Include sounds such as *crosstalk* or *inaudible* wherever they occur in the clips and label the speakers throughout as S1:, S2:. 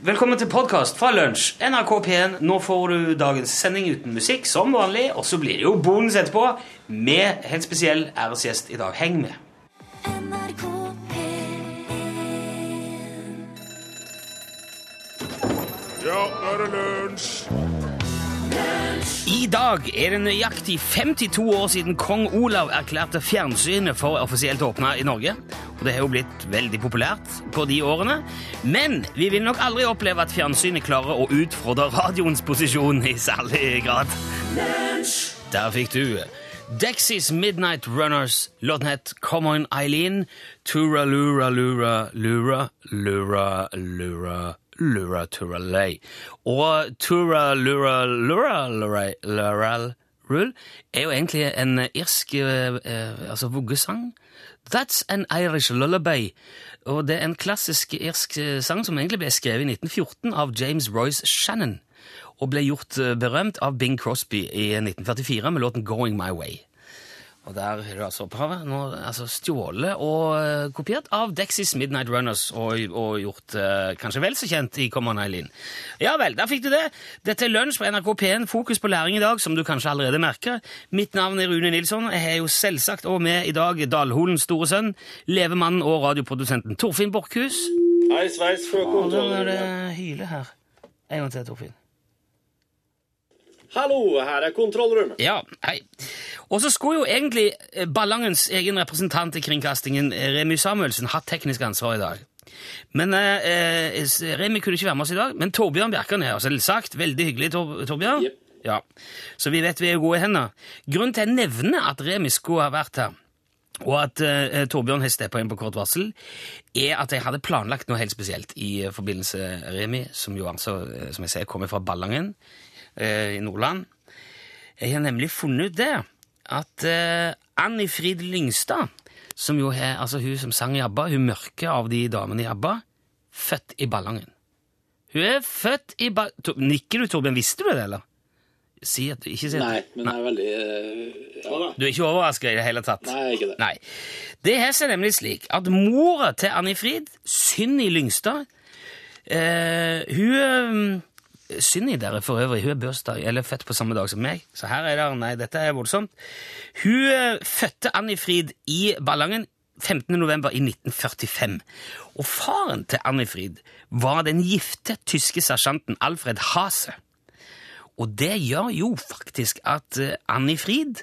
S1: Velkommen til podkast fra lunsj. NRK P1. Nå får du dagens sending uten musikk, som vanlig. Og så blir det jo bonus etterpå, med helt spesiell æresgjest i dag. Heng med.
S2: NRK P1
S3: Ja, nå er det lunsj!
S1: I dag er det nøyaktig 52 år siden kong Olav erklærte fjernsynet for offisielt åpna i Norge. Og det har jo blitt veldig populært på de årene. Men vi vil nok aldri oppleve at fjernsynet klarer å utfordre radioens posisjon i særlig grad. Der fikk du Dexys Midnight Runners. Låten het Come On Eileen. Tura lura lura lura lura lura lura turalei. Og Tura lura lura lura lura rul er jo egentlig en irsk eh, eh, altså vuggesang. That's an Irish Lullaby. Og det er en klassisk irsk eh, sang som egentlig ble skrevet i 1914 av James Royce Shannon og ble gjort eh, berømt av Bing Crosby i 1944 med låten Going My Way. Og der har du altså opphavet. Nå, altså Stjålet og eh, kopiert av Dexys Midnight Runners og, og gjort eh, kanskje vel så kjent i Come On Eileen. Ja vel, der fikk du det. Dette er Lunsj på NRK P1, fokus på læring i dag, som du kanskje allerede merker. Mitt navn er Rune Nilsson. Jeg er jo selvsagt også med i dag Dalholens store sønn, levemannen og radioprodusenten Torfinn Borchhus.
S4: Hei, sveis,
S1: Og nå er
S4: frøkontrollen.
S1: det hyle her. En gang til, Torfinn.
S4: Hallo, her er kontrollrommet.
S1: Ja, hei. Og så skulle jo egentlig eh, Ballangens egen representant i kringkastingen, eh, Remi Samuelsen, hatt teknisk ansvar i dag. Men eh, eh, s- Remi kunne ikke være med oss i dag, men Torbjørn Bjerkan er her, selvsagt. Veldig hyggelig, Tor Torbjørn.
S4: Jep.
S1: Ja, Så vi vet vi er gode hender. Grunnen til jeg nevner at Remi skulle ha vært her, og at eh, Torbjørn har steppa inn på kort varsel, er at jeg hadde planlagt noe helt spesielt i eh, forbindelse Remi, som jo altså, eh, som jeg sier, kommer fra Ballangen eh, i Nordland. Jeg har nemlig funnet ut det, at eh, Annie Frid Lyngstad, som jo er, altså hun som sang i ABBA, hun mørke av de damene i ABBA, født i Ballangen. Hun er født i ba... Tor- Nikker du, Torbjørn? Visste du det, eller? Si at du ikke sier
S4: Nei, men det er veldig eh, Ja da.
S1: Du er ikke overrasket i det hele tatt?
S4: Nei, jeg er ikke det.
S1: Nei. Det har seg nemlig slik at mora til Annie Frid, Synny Lyngstad eh, Hun eh, Synny der er for øvrig hun er bursdag, eller født på samme dag som meg, så her er det Nei, dette er voldsomt. Hun eh, fødte Annie Frid i Ballangen 15. november i 1945. Og faren til Annie Frid var den gifte tyske sersjanten Alfred Hase. Og det gjør jo faktisk at eh, Annie Frid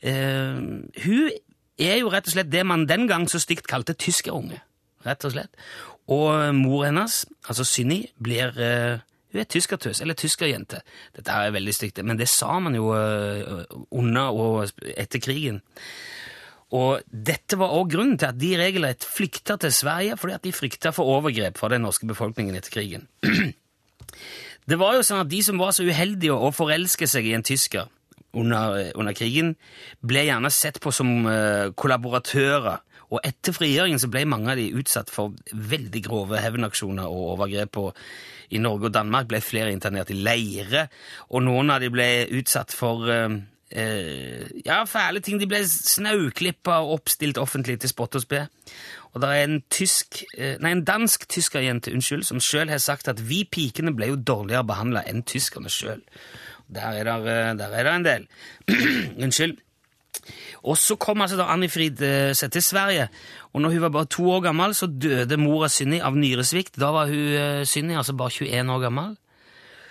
S1: eh, Hun er jo rett og slett det man den gang så stygt kalte tyskerunge. Rett og slett. Og eh, mor hennes, altså Synni, blir eh, Hun er tyskertøs, eller tyskerjente. Dette er veldig stygt, men det sa man jo eh, under og sp- etter krigen. Og dette var også grunnen til at de regelrett flykta til Sverige, fordi at de frykta for overgrep fra den norske befolkningen etter krigen. Det var jo sånn at De som var så uheldige å forelske seg i en tysker under, eh, under krigen, ble gjerne sett på som eh, kollaboratører. Og etter frigjøringen så ble mange av de utsatt for veldig grove hevnaksjoner og overgrep. Og I Norge og Danmark ble flere internert i leire, og noen av de ble utsatt for eh, eh, ja, fæle ting. De ble snauklippa og oppstilt offentlig til spott og spe. Og det er en, tysk, eh, nei, en dansk tyskerjente unnskyld, som sjøl har sagt at vi pikene ble jo dårligere behandla enn tyskerne sjøl. Der er det en del. *clears throat* unnskyld. Og så kom altså da Annie Frid eh, seg til Sverige. Og når hun var bare to år gammel, så døde mora Synni av nyresvikt. Da var hun eh, Synni altså bare 21 år gammel.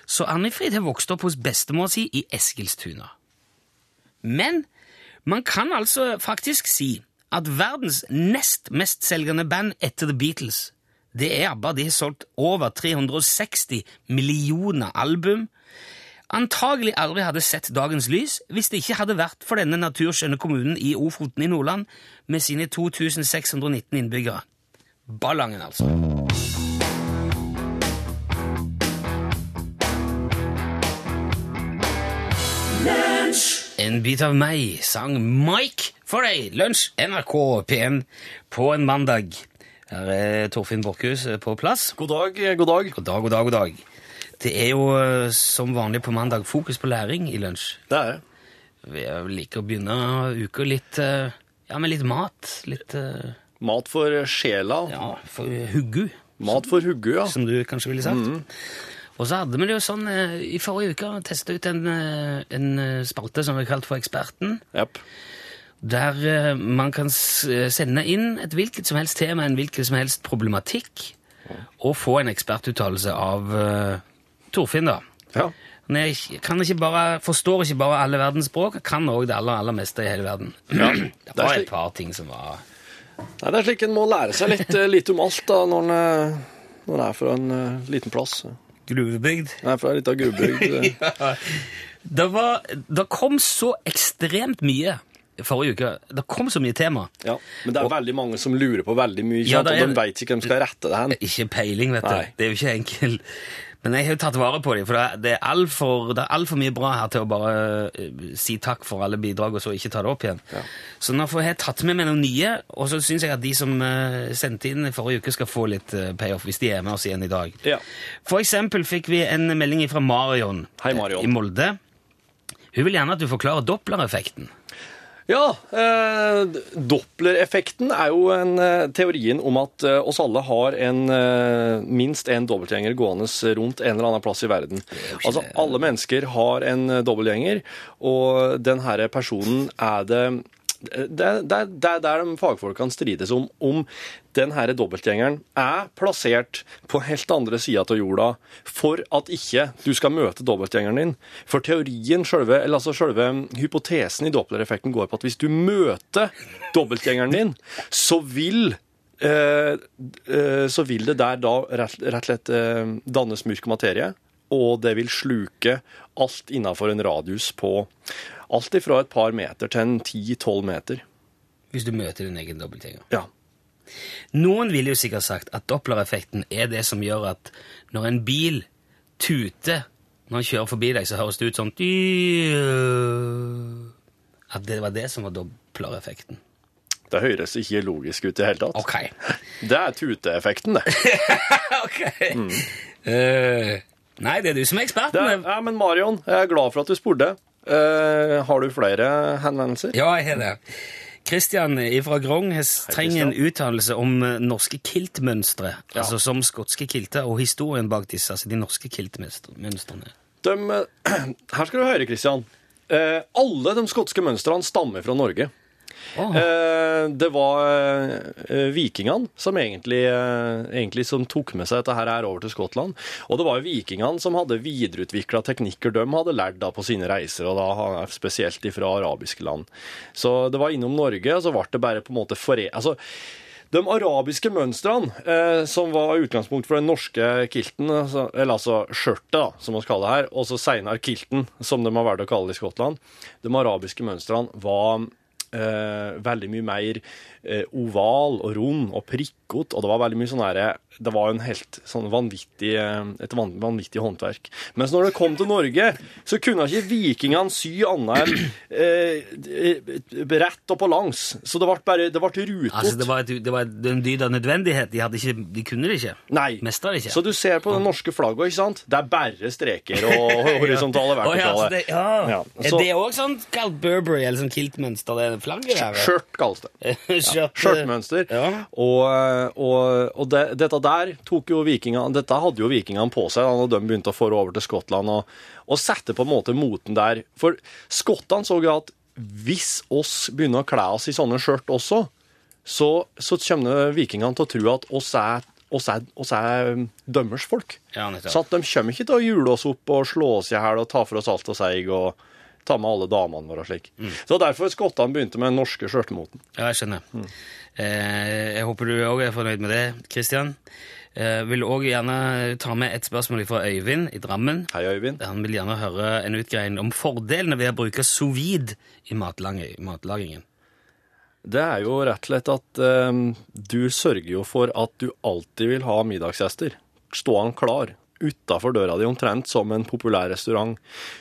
S1: Så Annie Frid har vokst opp hos bestemor si i Eskilstuna. Men man kan altså faktisk si at verdens nest mestselgende band etter The Beatles, det er ABBA. De har solgt over 360 millioner album. Antagelig aldri hadde sett dagens lys hvis det ikke hadde vært for denne naturskjønne kommunen i Ofoten i Nordland med sine 2619 innbyggere. Ballangen, altså. En bit av meg sang Mike for deg. Lunsj NRK P1 på en mandag. Her er Torfinn Borchhus eh, på plass.
S5: God dag, eh, god dag.
S1: God dag, god dag, god dag. Det er jo eh, som vanlig på mandag fokus på læring i lunsj.
S5: Det er det.
S1: Vi er- liker å begynne uka litt eh, Ja, med litt mat. Litt eh,
S5: Mat for sjela.
S1: Ja, for huggu.
S6: Mat for huggu, ja.
S1: som du kanskje ville sagt.
S5: Mm.
S1: Og så hadde vi det jo sånn eh, i forrige uke testa ut en, eh, en eh, spalte som er kalt for Eksperten,
S6: Japp.
S1: der eh, man kan s- eh, sende inn et hvilket som helst tema, en hvilken som helst problematikk, og få en ekspertuttalelse av eh, Torfinn, da.
S6: Ja.
S1: Han er ikke- kan ikke bare, forstår ikke bare alle verdens språk, han kan òg det aller, aller meste i hele verden. *clears throat* det var
S6: slik.
S1: et par ting som var
S6: Nei, det er slik en må lære seg litt, eh, litt om alt da, når en, eh, når en er fra en eh, liten plass. En
S1: gruvebygd.
S6: er fra ei lita gruvebygd. *laughs* eh.
S1: Det, var, det kom så ekstremt mye forrige uke. Det kom så mye tema.
S6: Ja. Men det er veldig mange som lurer på veldig mye,
S1: Ja,
S6: sant?
S1: det er
S6: og de veit ikke hvem skal rette det hen.
S1: Ikke peiling, vet du.
S6: Nei.
S1: Det er jo ikke enkelt. Men jeg har jo tatt vare på dem, for det er- det er altfor alt mye bra her til å bare eh, si takk for alle bidrag, og så ikke ta det opp igjen. Så nå får jeg tatt med meg noen nye, og så syns jeg at de som eh, sendte inn i forrige uke, skal få litt eh, payoff hvis de er med oss igjen i dag.
S6: Ja.
S1: For eksempel fikk vi en melding fra Marion eh,
S6: Hei, Marion.
S1: i Molde. Hun vil gjerne at du forklarer Doppler-effekten.
S6: Ja, eh, Doppler-effekten er jo en, eh, teorien om at eh, oss alle har en, eh, minst en dobbeltgjenger gående rundt en eller annen plass i verden. Altså, alle mennesker har en eh, dobbeltgjenger, og den her personen er det det er det, er- det er der de fagfolkene strides om om den her dobbeltgjengeren er plassert på helt andre sida av jorda for at ikke du skal møte dobbeltgjengeren din. For teorien, selve, eller altså selve hypotesen i dopplereffekten går på at hvis du møter dobbeltgjengeren din, så vil eh, eh, så vil det der da rett rett og slett eh, dannes mørk materie, og det vil sluke alt innafor en radius på alt ifra et par meter til en 10-12 meter.
S1: Hvis du møter din egen dobbeltgjenger.
S6: Ja.
S1: Noen ville jo sikkert sagt at Doppler-effekten er det som gjør at når en bil tuter når den kjører forbi deg, så høres det ut sånn At det var det som var Doppler-effekten.
S6: Det høres ikke logisk ut i det hele tatt.
S1: Ok.
S6: *laughs* Det er tuteeffekten, det.
S1: *laughs* ok.
S6: Mm.
S1: Eh, nei, det er du som er
S6: det er,
S1: eksperten.
S6: ja, men Marion, jeg er glad for at du spurte. Eh, har du flere henvendelser?
S1: Ja, jeg har det. Christian fra Grong har s- trenger en
S6: Christian.
S1: uttalelse om eh, norske kiltmønstre, altså som skotske kilter, og historien bak disse, altså de norske kiltmønstrene.
S6: De, *clears throat* her skal du høre, Christian. Eh, alle de skotske mønstrene stammer fra Norge.
S1: Åh.
S6: Eh, det var eh, vikingene som egentlig, eh, egentlig som tok med seg dette her her over til Skottland. Og det var jo vikingene som hadde videreutvikla teknikker de hadde lært da på sine reiser, og da eh, spesielt fra arabiske land. Så det var innom Norge, og så ble det bare på en måte fore... Altså, de arabiske mønstrene, eh, som var utgangspunkt for den norske kilten, altså, eller altså skjørtet, da, som vi kaller det her, og så senere kilten, som de har valgt å kalle det i Skottland, de arabiske mønstrene var eh, veldig mye mer eh, oval og rund og prikkete, og det var veldig mye sånn herre Det var jo en helt sånn vanvittig eh, Et van, vanvittig håndverk. Mens når det kom til Norge, så kunne ikke vikingene sy annet enn eh, eh, rett og på langs. Så det ble bare Det ble rutet.
S1: Altså, det var, et, det var et- en dyd av nødvendighet. De, hadde ikke, de kunne det ikke.
S6: Nei.
S1: Mestra det ikke.
S6: Så du ser på det norske flagget, ikke sant? Det er bare streker og
S1: *laughs*
S6: horisontale
S1: Å, ja, altså,
S6: vertikale.
S1: det, ja.
S6: Ja,
S1: Er
S6: så-
S1: det òg sånn kalt Burberry, eller sånn kiltmønster? Det er flagget der. vet du?
S6: Skjørt kalles det.
S1: *laughs* Skjørt.
S6: Skjørtmønster.
S1: Ja.
S6: Og, og, og det, dette der tok jo vikingene Dette hadde jo vikingene på seg da når de begynte å få det over til Skottland og, og sette på en måte moten der. For skottene så jo at hvis oss begynner å kle oss i sånne skjørt også, så, så kommer vikingene til å tro at oss er, oss er, oss er dømmers folk.
S1: Ja, nettopp.
S6: så at de kommer ikke til å jule oss opp og slå oss i hjel og ta for oss alt og seig og ta med alle damene våre og slik.
S1: Mm.
S6: Så derfor skottene begynte med den norske skjørtemoten.
S1: Ja, jeg skjønner. Eh, jeg håper du òg er fornøyd med det, Christian. Eh, vil òg gjerne ta med et spørsmål fra Øyvind i Drammen.
S6: Hei, Øyvind.
S1: Han vil gjerne høre en utgreiing om fordelene ved å bruke sous vide i matlang- matlagingen.
S6: Det er jo rett og slett at ehm, du sørger jo for at du alltid vil ha middagsgjester. Stå han klar utafor døra di, omtrent som en populær restaurant.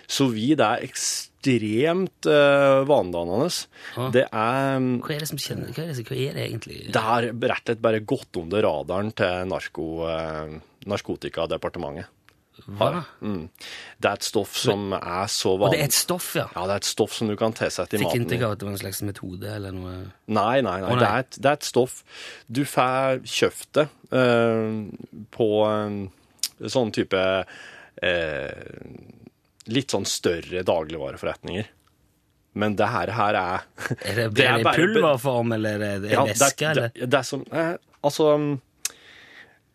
S6: Sous vide er ekstremt uh, vanedannende.
S1: Ah.
S6: Det er
S1: Hva er det som kjenner Hva er det, hva er det egentlig?
S6: det har rett og slett bare gått under radaren til narko, eh, narkotikadepartementet.
S1: Hva?
S6: Mm. Det er et stoff som er så
S1: Og det
S6: vanlig.
S1: er et stoff, ja.
S6: Ja, det er et stoff som du kan tilsette i
S1: Fikk
S6: maten.
S1: inntrykk av at det var en slags metode eller noe.
S6: Nei, nei, nei.
S1: Å, nei.
S6: Det, er et, det er et stoff. Du får kjøpt det eh, på eh, sånn type eh, litt sånn større dagligvareforretninger. Men det her, her er
S1: Er det,
S6: *laughs* Det er
S1: er det i
S6: bare-
S1: pulverform, eller er det i
S6: Ja, det,
S1: væske?
S6: er-
S1: eller?
S6: det, det er som eh, Altså mm,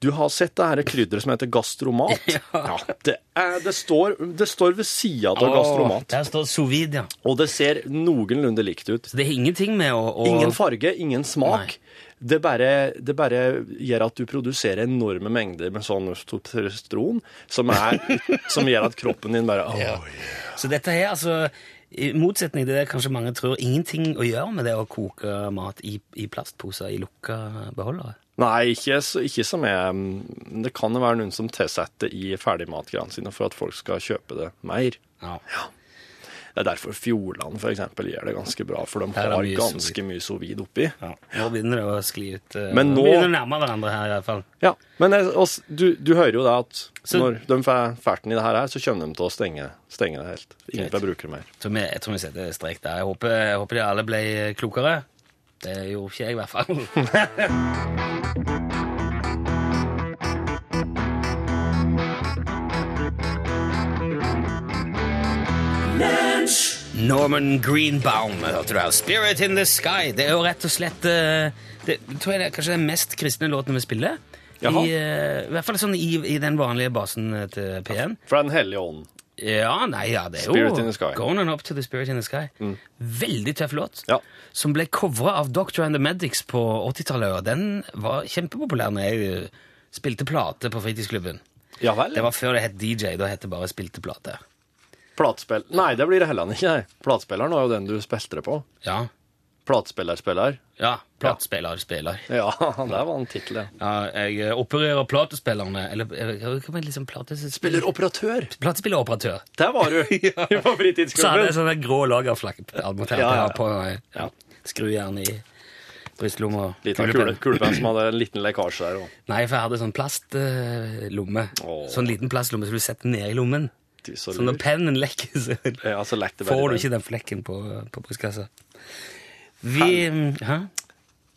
S6: du har sett det her krydderet som heter
S1: *laughs*
S6: gastromat? Ja. det, er, det, står, det står ved sida av
S1: Åh,
S6: gastromat,
S1: Der står sovid, ja.
S6: og det ser noenlunde likt ut.
S1: Så det er ingenting med å, å
S6: Ingen farge, ingen smak. Det bare, det bare gjør at du produserer enorme mengder med sånn testosteron, som,
S1: *laughs*
S6: er, som gjør at kroppen din bare «Åh,
S1: Så dette her, altså i motsetning til det kanskje mange tror, ingenting å gjøre med det å koke mat i, i plastposer i lukka beholdere.
S6: Nei, ikke, s- ikke som jeg men Det kan jo være noen som tilsetter i ferdigmatgreiene sine for at folk skal kjøpe det mer.
S1: Ja.
S6: Det er derfor Fjordland for eksempel gjør det ganske bra, for de
S1: er det
S6: har
S1: mye sous
S6: ganske mye sous vide oppi.
S1: Nå begynner det å skli ut. eh,
S6: Men nå-
S1: Vi begynner å nærme hverandre her, i hvert fall.
S6: Ja, men jeg, oss- du, du hører jo det at
S1: Så-
S6: når de får ferten i det her, her, så kommer de til å stenge, stenge det helt. Ingen får bruke det mer.
S1: Så vi, jeg tror vi setter strek der. Jeg håper, jeg håper de alle ble klokere. Det gjorde ikke jeg, i hvert fall. Norman Greenbaum, hørte du her. 'Spirit in the Sky'. Det er jo rett og slett eh, det, tror jeg det er kanskje den mest kristne låten vi spiller. I,
S6: Jaha.
S1: eh, I hvert fall sånn i, i den vanlige basen eh, til P1.
S6: Fra Den hellige ånd.
S1: Ja, nei, ja, det er
S6: Spirit
S1: jo
S6: in the Sky. Mm.
S1: Going on up to the Spirit in the Sky. Veldig tøff låt,
S6: Ja.
S1: som ble covra av Doctor and the Medics på 80-tallet. Og den var kjempepopulær når jeg eh, spilte plate på fritidsklubben.
S6: Ja vel?
S1: Det var før det het DJ. Da het det bare spilte plate.
S6: Platespill... Nei, det blir det heller ikke. Nei. Platespilleren var jo den du spilte det på.
S1: Ja.
S6: Platespillerspiller.
S1: ja platespiller, spiller.
S6: Ja, det var en tittel, ja.
S1: Ja, jeg eh, opererer platespillerne Eller eh, hva var det liksom platespiller?
S6: Spilleroperatør.
S1: Platespilleroperatør.
S6: Der var *laughs* du ja. på
S1: Så hadde
S6: fritidsklubben.
S1: jeg sånne grå lagerflagg admontert
S6: Ja, ja, ja.
S1: her på eh, ja. skrujern i brystlomma. og
S6: Liten
S1: kulepenn.
S6: kule, kulepenn som hadde en liten lekkasje der. Og.
S1: Nei, for jeg hadde sånn plastlomme.
S6: Åh.
S1: Sånn liten plastlomme som du setter ned i lommen.
S6: Du, så
S1: Så når
S6: lurt.
S1: pennen lekker, så
S6: Ja, så lekk det
S1: får
S6: veldig
S1: du ikke den flekken på, på brystkassa. Vi mm, Hæ?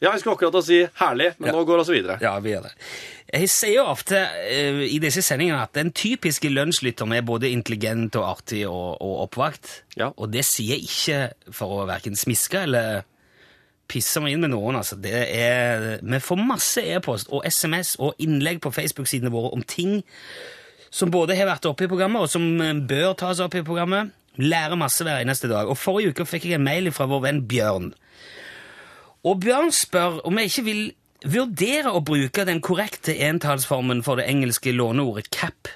S6: Ja, jeg skulle akkurat til å si herlig, men nå går vi videre.
S1: Ja, vi gjør det. Jeg sier jo ofte eh, i disse sendingene at den typiske lunsjlytteren er både intelligent og artig og, og oppvakt.
S6: Ja.
S1: Og det sier jeg ikke for å verken smiske eller pisse meg inn med noen. altså. Det er, vi får masse e-post og SMS og innlegg på Facebook-sidene våre om ting som både har vært oppe i programmet, og som eh, bør tas opp i programmet. Lærer masse hver eneste dag. Og Forrige uke fikk jeg en mail fra vår venn Bjørn. Og Bjørn spør om jeg ikke vil vurdere å bruke den korrekte entallsformen for det engelske låneordet cap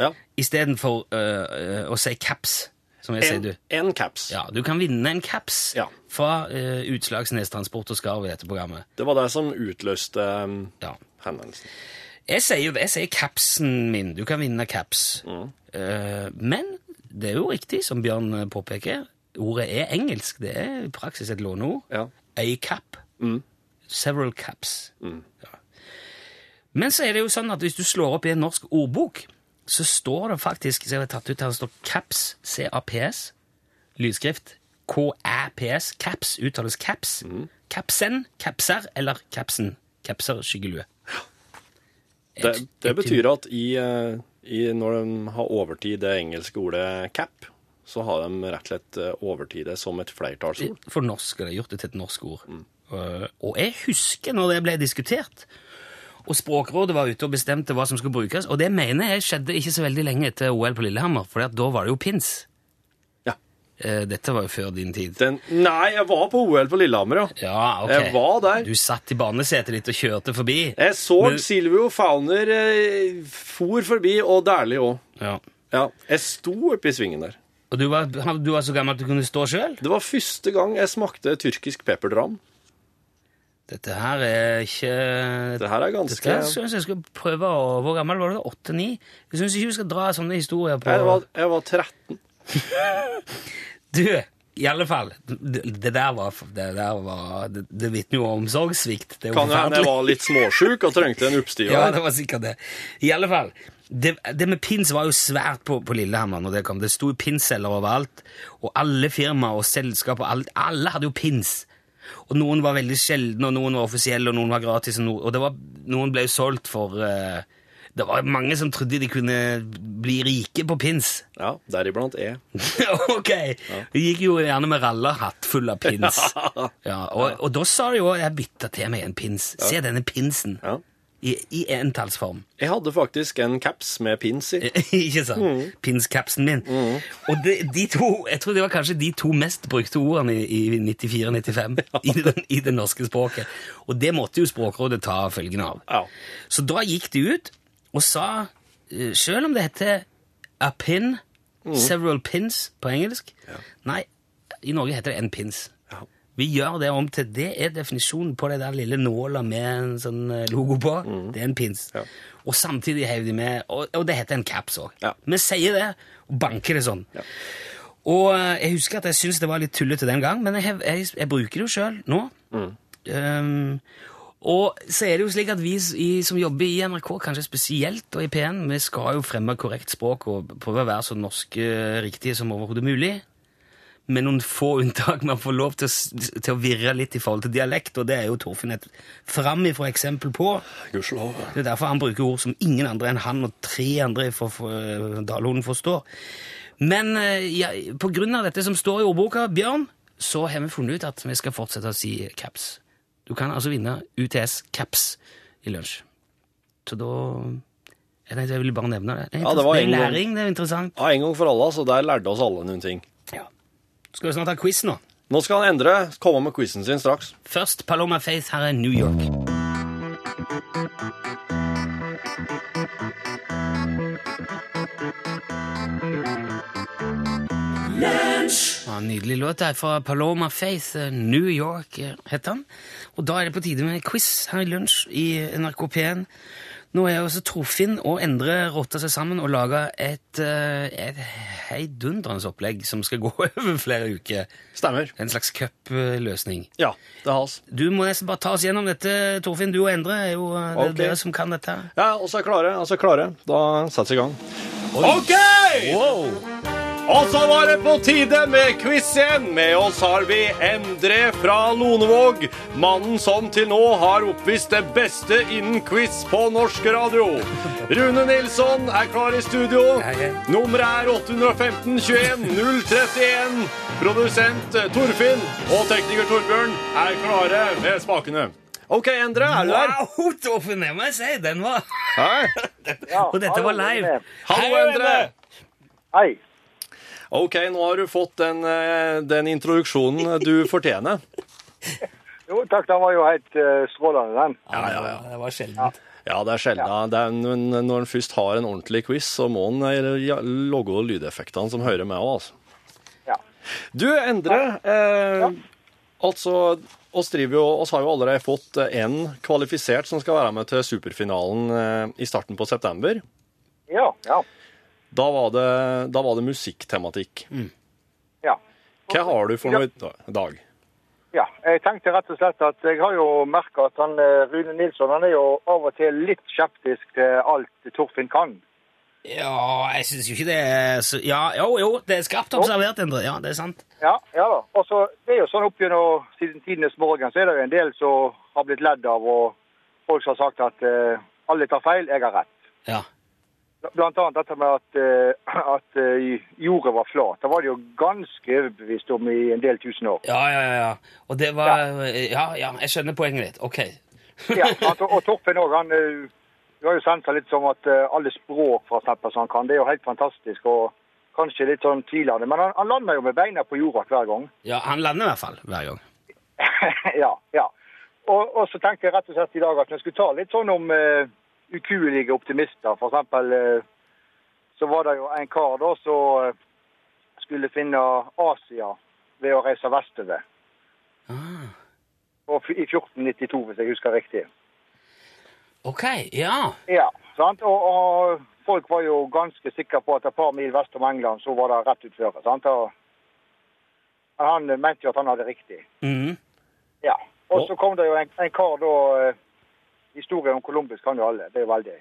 S6: Ja.
S1: istedenfor øh, øh, å si caps, som jeg sier
S6: En,
S1: du.
S6: en caps.
S1: Ja, Du kan vinne en caps
S6: Ja.
S1: fra øh, Utslagsnes Transport og Skarv i dette programmet.
S6: Det var det som utløste um,
S1: Ja.
S6: henvendelsen.
S1: Jeg sier jo jeg sier capsen min. Du kan vinne caps.
S6: Mm.
S1: Eh, men det er jo riktig, som Bjørn eh, påpeker, ordet er engelsk. Det er i praksis et låneord.
S6: Ja.
S1: A cap.
S6: Mm.
S1: Several caps. Ja. Men så er det jo sånn at hvis du slår opp i en norsk ordbok, så står det faktisk så jeg har tatt ut her, det står caps, C-A-P-S, lydskrift, K-A-P-S, caps, uttales caps,
S6: Mm.
S1: capsen, capser eller capsen, capser, skyggelue.
S6: Det, det betyr at i, eh, i, når de har overtid det engelske ordet cap, så har de rett og slett eh, overtid det som et flertallsord.
S1: For norsk er det gjort det til et norsk ord. Eh, og jeg husker når det ble diskutert, og Språkrådet var ute og bestemte hva som skulle brukes, og det mener jeg skjedde ikke så veldig lenge etter OL på Lillehammer, for da var det jo pins.
S6: Ja.
S1: Eh, dette var jo før din tid.
S6: Den, nei, jeg var på OL på Lillehammer, ja.
S1: Ja, ok.
S6: Jeg var der.
S1: Du satt i barnesetet ditt og kjørte forbi.
S6: Jeg så
S1: Men-
S6: Silvio Fauner eh, for forbi, og Dæhlie òg.
S1: Ja.
S6: Ja, jeg sto oppe i svingen der.
S1: Og du var, du var så gammel at du kunne stå sjøl?
S6: Det var første gang jeg smakte tyrkisk pepperdram.
S1: Dette her er ikke
S6: Det her er ganske
S1: Dette syns jeg skal prøve å Hvor gammel var du? Åtte-ni? Jeg syns ikke vi skal dra sånne historier på
S6: Jeg var, jeg var 13.
S1: Du, I alle fall, det, det der var Det, der var, det, det vitner jo om omsorgssvikt. Det er jo
S6: Kan jo
S1: forferdelig.
S6: hende jeg var litt småsjuk og trengte
S1: *laughs*
S6: en
S1: Ja,
S6: oppstiger.
S1: det var sikkert det. I alle fall, det, det med pins var jo svært på, på Lillehammer når det kom. Det sto jo pinsselger overalt, og alle firmaer og selskap og alt, alle hadde jo pins. Og noen var veldig sjeldne, og noen var offisielle, og noen var gratis, og, no, og det var, noen ble jo solgt for eh, Det var mange som trodde de kunne bli rike på pins.
S6: ja Deriblant E.
S1: *laughs* ok! De gikk jo gjerne med rallerhatt full av pins.
S6: *laughs* Ja.
S1: Ja, og, og da sa de jo Jeg bytta til meg en pins. Se denne pinsen.
S6: Ja.
S1: I, i entallsform. *laughs*
S6: Jeg hadde faktisk en caps med pins i.
S1: ikke sant?
S6: Mm.
S1: Pinskapsen min. Og de, de to, jeg tror det var kanskje de to mest brukte ordene i, i
S6: *laughs*
S1: 94-95 i, den- i det norske språket. Og det måtte jo Språkrådet ta følgen av.
S6: Ja.
S1: Så da gikk de ut og sa, eh, selv om det heter a pin,
S6: Mm.
S1: several pins på engelsk, nei, i Norge heter det en pins.
S6: Ja.
S1: Vi gjør det om til Det er definisjonen på det der lille nåla med en sånn eh, logo på. Det er en pins.
S6: Mm. Ja.
S1: Og samtidig heiv de med Og, og det heter en caps òg.
S6: Ja.
S1: Vi sier det og banker det sånn.
S6: Ja.
S1: Og eh, jeg husker at jeg syntes det var litt tullete den gang, men jeg, hev- jeg, jeg bruker det jo sjøl nå.
S6: Mm.
S1: Um, og så er det jo slik at vi s- i, som jobber i NRK, kanskje spesielt, og i P1, vi skal jo fremme korrekt språk og prøve å være så norske riktige som overhodet mulig med noen få *laughs* unntak man får lov til å, s- til å virre litt i forhold til dialekt, og det er jo Torfinn et framifrå eksempel på.
S6: Gudskjelov.
S1: Det er derfor han bruker ord som ingen andre enn han og tre andre fra fra Dalhoden eh, forstår. Men eh, ja, på grunn av dette som står i ordboka, Bjørn, så har vi funnet ut at vi skal fortsette å si caps. Du kan altså vinne UTS caps i lunsj. Så da Jeg tenkte jeg ville bare nevne det. Det er,
S6: Ja, det var
S1: det er
S6: en gang.
S1: læring, det er interessant.
S6: Ja, en gang for alle, så der lærte oss alle noen ting.
S1: Ja. Skal vi snart ha quiz nå?
S6: Nå skal han endre. Komme med quizen sin straks.
S1: Først Paloma Faith, her er New York. Ja, nydelig låt der fra Paloma Faith, eh, New York eh, heter han. Og da er det på tide med quiz her i lunsj i NRK P1. Nå er også Torfinn og Endre rotta seg sammen og laga et, eh, et heidundrende opplegg som skal gå *laughs* over flere uker.
S6: Stemmer.
S1: En slags cupløsning.
S6: Ja, det er hans.
S1: Du må nesten bare ta oss gjennom dette, Torfinn. Du og Endre er jo eh, det er
S6: Ok.
S1: dere som kan dette. her.
S6: Ja, og så er klare. Og så er klare. Da settes i gang. OK! Og så var det på tide med quiz igjen. Med oss har vi Endre fra Lonevåg. Mannen som til nå har oppvist det beste innen quiz på norsk radio. Rune Nilsson er klar i studio.
S1: Ja, ja.
S6: Nummeret er 815 21 031. Produsent eh, Torfinn og tekniker Torbjørn er klare med spakene. OK, Endre, er du der?
S1: Wow, *laughs* Torfinn, det må jeg si! Den var
S6: Hei.
S1: Og dette var live.
S6: Hallo,
S1: Hei,
S6: Endre.
S5: Hei.
S6: Ok, nå har du fått den, eh, den introduksjonen du fortjener.
S5: Jo, takk, den var jo helt eh, strålende, den.
S1: *laughs* Ja, ja, ja. Det var sjeldent.
S6: Ja, det er sjelden. Det er, men når en først har en ordentlig quiz, så må en eh, ja, logge lydeffektene som hører med også, altså.
S5: Ja.
S6: Du, Endre, eh, altså, oss, driver jo, oss har jo allerede fått eh, en kvalifisert som skal være med til superfinalen eh, i starten på september.
S5: Ja, ja.
S6: Da var det, da var det musikktematikk.
S5: ja.
S6: Hva har du for noe i da- dag?
S5: Ja, jeg tenkte rett og slett at jeg har jo merket at han, eh, Rune Nilsson han er jo av og til litt skeptisk til alt Torfinn kan.
S1: Ja, jeg syns jo ikke det er så Ja, jo, jo, det er skarpt observert, Endre. Ja, det er sant.
S5: Ja, ja da. Og så det er jo sånn opp gjennom siden tidenes morgen, så er det jo en del som har blitt ledd av, og folk som har sagt at eh, alle tar feil, jeg har rett.
S1: Ja.
S5: Blant annet dette med at, eh, at eh, jorda var flat. Det var det jo ganske overbevist om i en del tusen år.
S1: Ja, ja, ja. ja. Og det var Ja, ja, jeg skjønner poenget ditt. Ok.
S5: Ja, sant, og og Torfinn òg, han eh, Du har jo sensa litt som at eh, alle språk for eksempel, som han kan. Det er jo helt fantastisk. og Kanskje litt sånn tvilende, men han, han lander jo med beina på jorda hver gang. *laughs*
S1: Ja, han lander i hvert fall hver gang.
S5: ja, ja. Og, og så tenkte jeg rett og slett i dag at vi skulle ta litt sånn om eh, ukuelige optimister. For eksempel eh, så var det jo en kar da som eh, skulle finne Asia ved å reise vestover.
S1: Ah.
S5: Og f- I 1492, hvis jeg husker riktig.
S1: Ok, ja.
S5: Ja, sant? Og, og folk var jo ganske sikre på at et par mil vest om England så var det rett utføre. Sant? Og, Men han eh, mente jo at han hadde riktig.
S1: Mhm.
S5: Ja. Og så kom det jo en, en kar da eh, Historien om Columbus kan jo alle. Det er jo veldig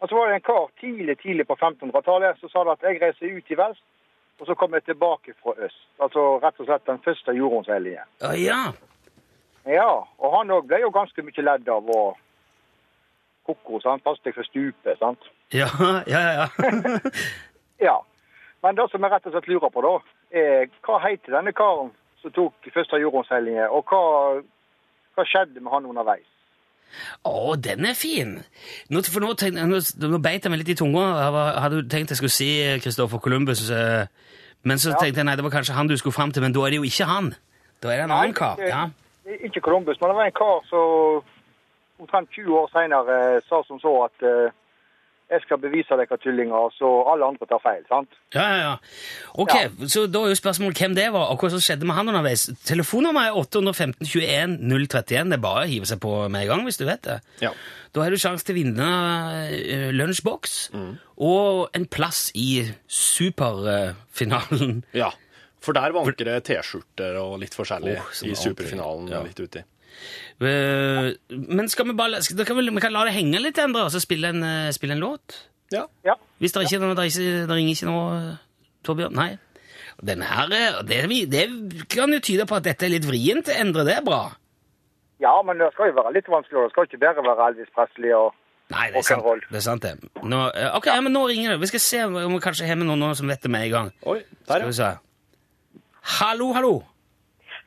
S5: Og så var det en kar tidlig tidlig på 1500-tallet som sa det at jeg reiser ut i vest, og så kommer jeg tilbake fra øst. Altså rett og slett den første jordromshellige.
S1: Å ja.
S5: Ja, og han òg ble jo ganske mye ledd av å koko, sant. Pass deg for stupet, sant.
S1: Ja, ja, ja. *laughs* ja.
S5: Ja. Men det som jeg rett og slett lurer på, da, er hva heter denne karen som tok første jordromshellige, og hva, hva skjedde med han underveis?
S1: Å, den er fin! Nå, for nå, tenkte, nå, nå beit jeg meg litt i tunga. Jeg var- hadde jo tenkt jeg skulle si Kristoffer Columbus, eh, men så
S5: Ja.
S1: tenkte jeg nei, det var kanskje han du skulle fram til, men da er det jo ikke han. Da er det en
S5: Nei,
S1: annen kar.
S5: ikke-
S1: Ja.
S5: Ikke Columbus, men det var en kar som omtrent 20 år senere sa som så at eh, jeg skal bevise dere tullinger, så alle andre tar feil, sant?
S1: Ja, ja, ja. Ok, så da er jo spørsmålet hvem det var, og hva som skjedde med han underveis. Telefonnummer er 815 21 031. Det er bare å hive seg på med en gang, hvis du vet det.
S6: Ja.
S1: Da har du sjanse til å vinne eh, lunsjboks og en plass i superfinalen.
S6: Ja, for der vanker det T-skjorter og litt forskjellig
S1: Åh, som
S6: i
S1: alltid.
S6: superfinalen
S1: Ja.
S6: litt uti.
S1: Eh, Men skal vi bare skal, da kan vi, vi kan la det henge litt, Endre, og så spille en, eh, spille en låt?
S6: Ja.
S5: Ja.
S1: Hvis det ikke er noe, det, er ikke, det ringer ikke noe, Torbjørn? Nei. Den her, eh, det, det kan jo tyde på at dette er litt vrient, Endre. Det er bra.
S5: ja, men det skal jo være litt vanskeligere. Det skal ikke bare være Elvis Presley og
S1: Nei, det er
S5: Og
S1: sant
S5: Carol.
S1: det. Er sant, det. Nå, eh, ok, ja, men nå ringer det. Vi skal se om om vi kanskje har med noen, nå som vet det med en gang.
S6: Oi,
S1: Skal
S6: der,
S1: vi
S6: ja.
S1: se. Hallo, hallo!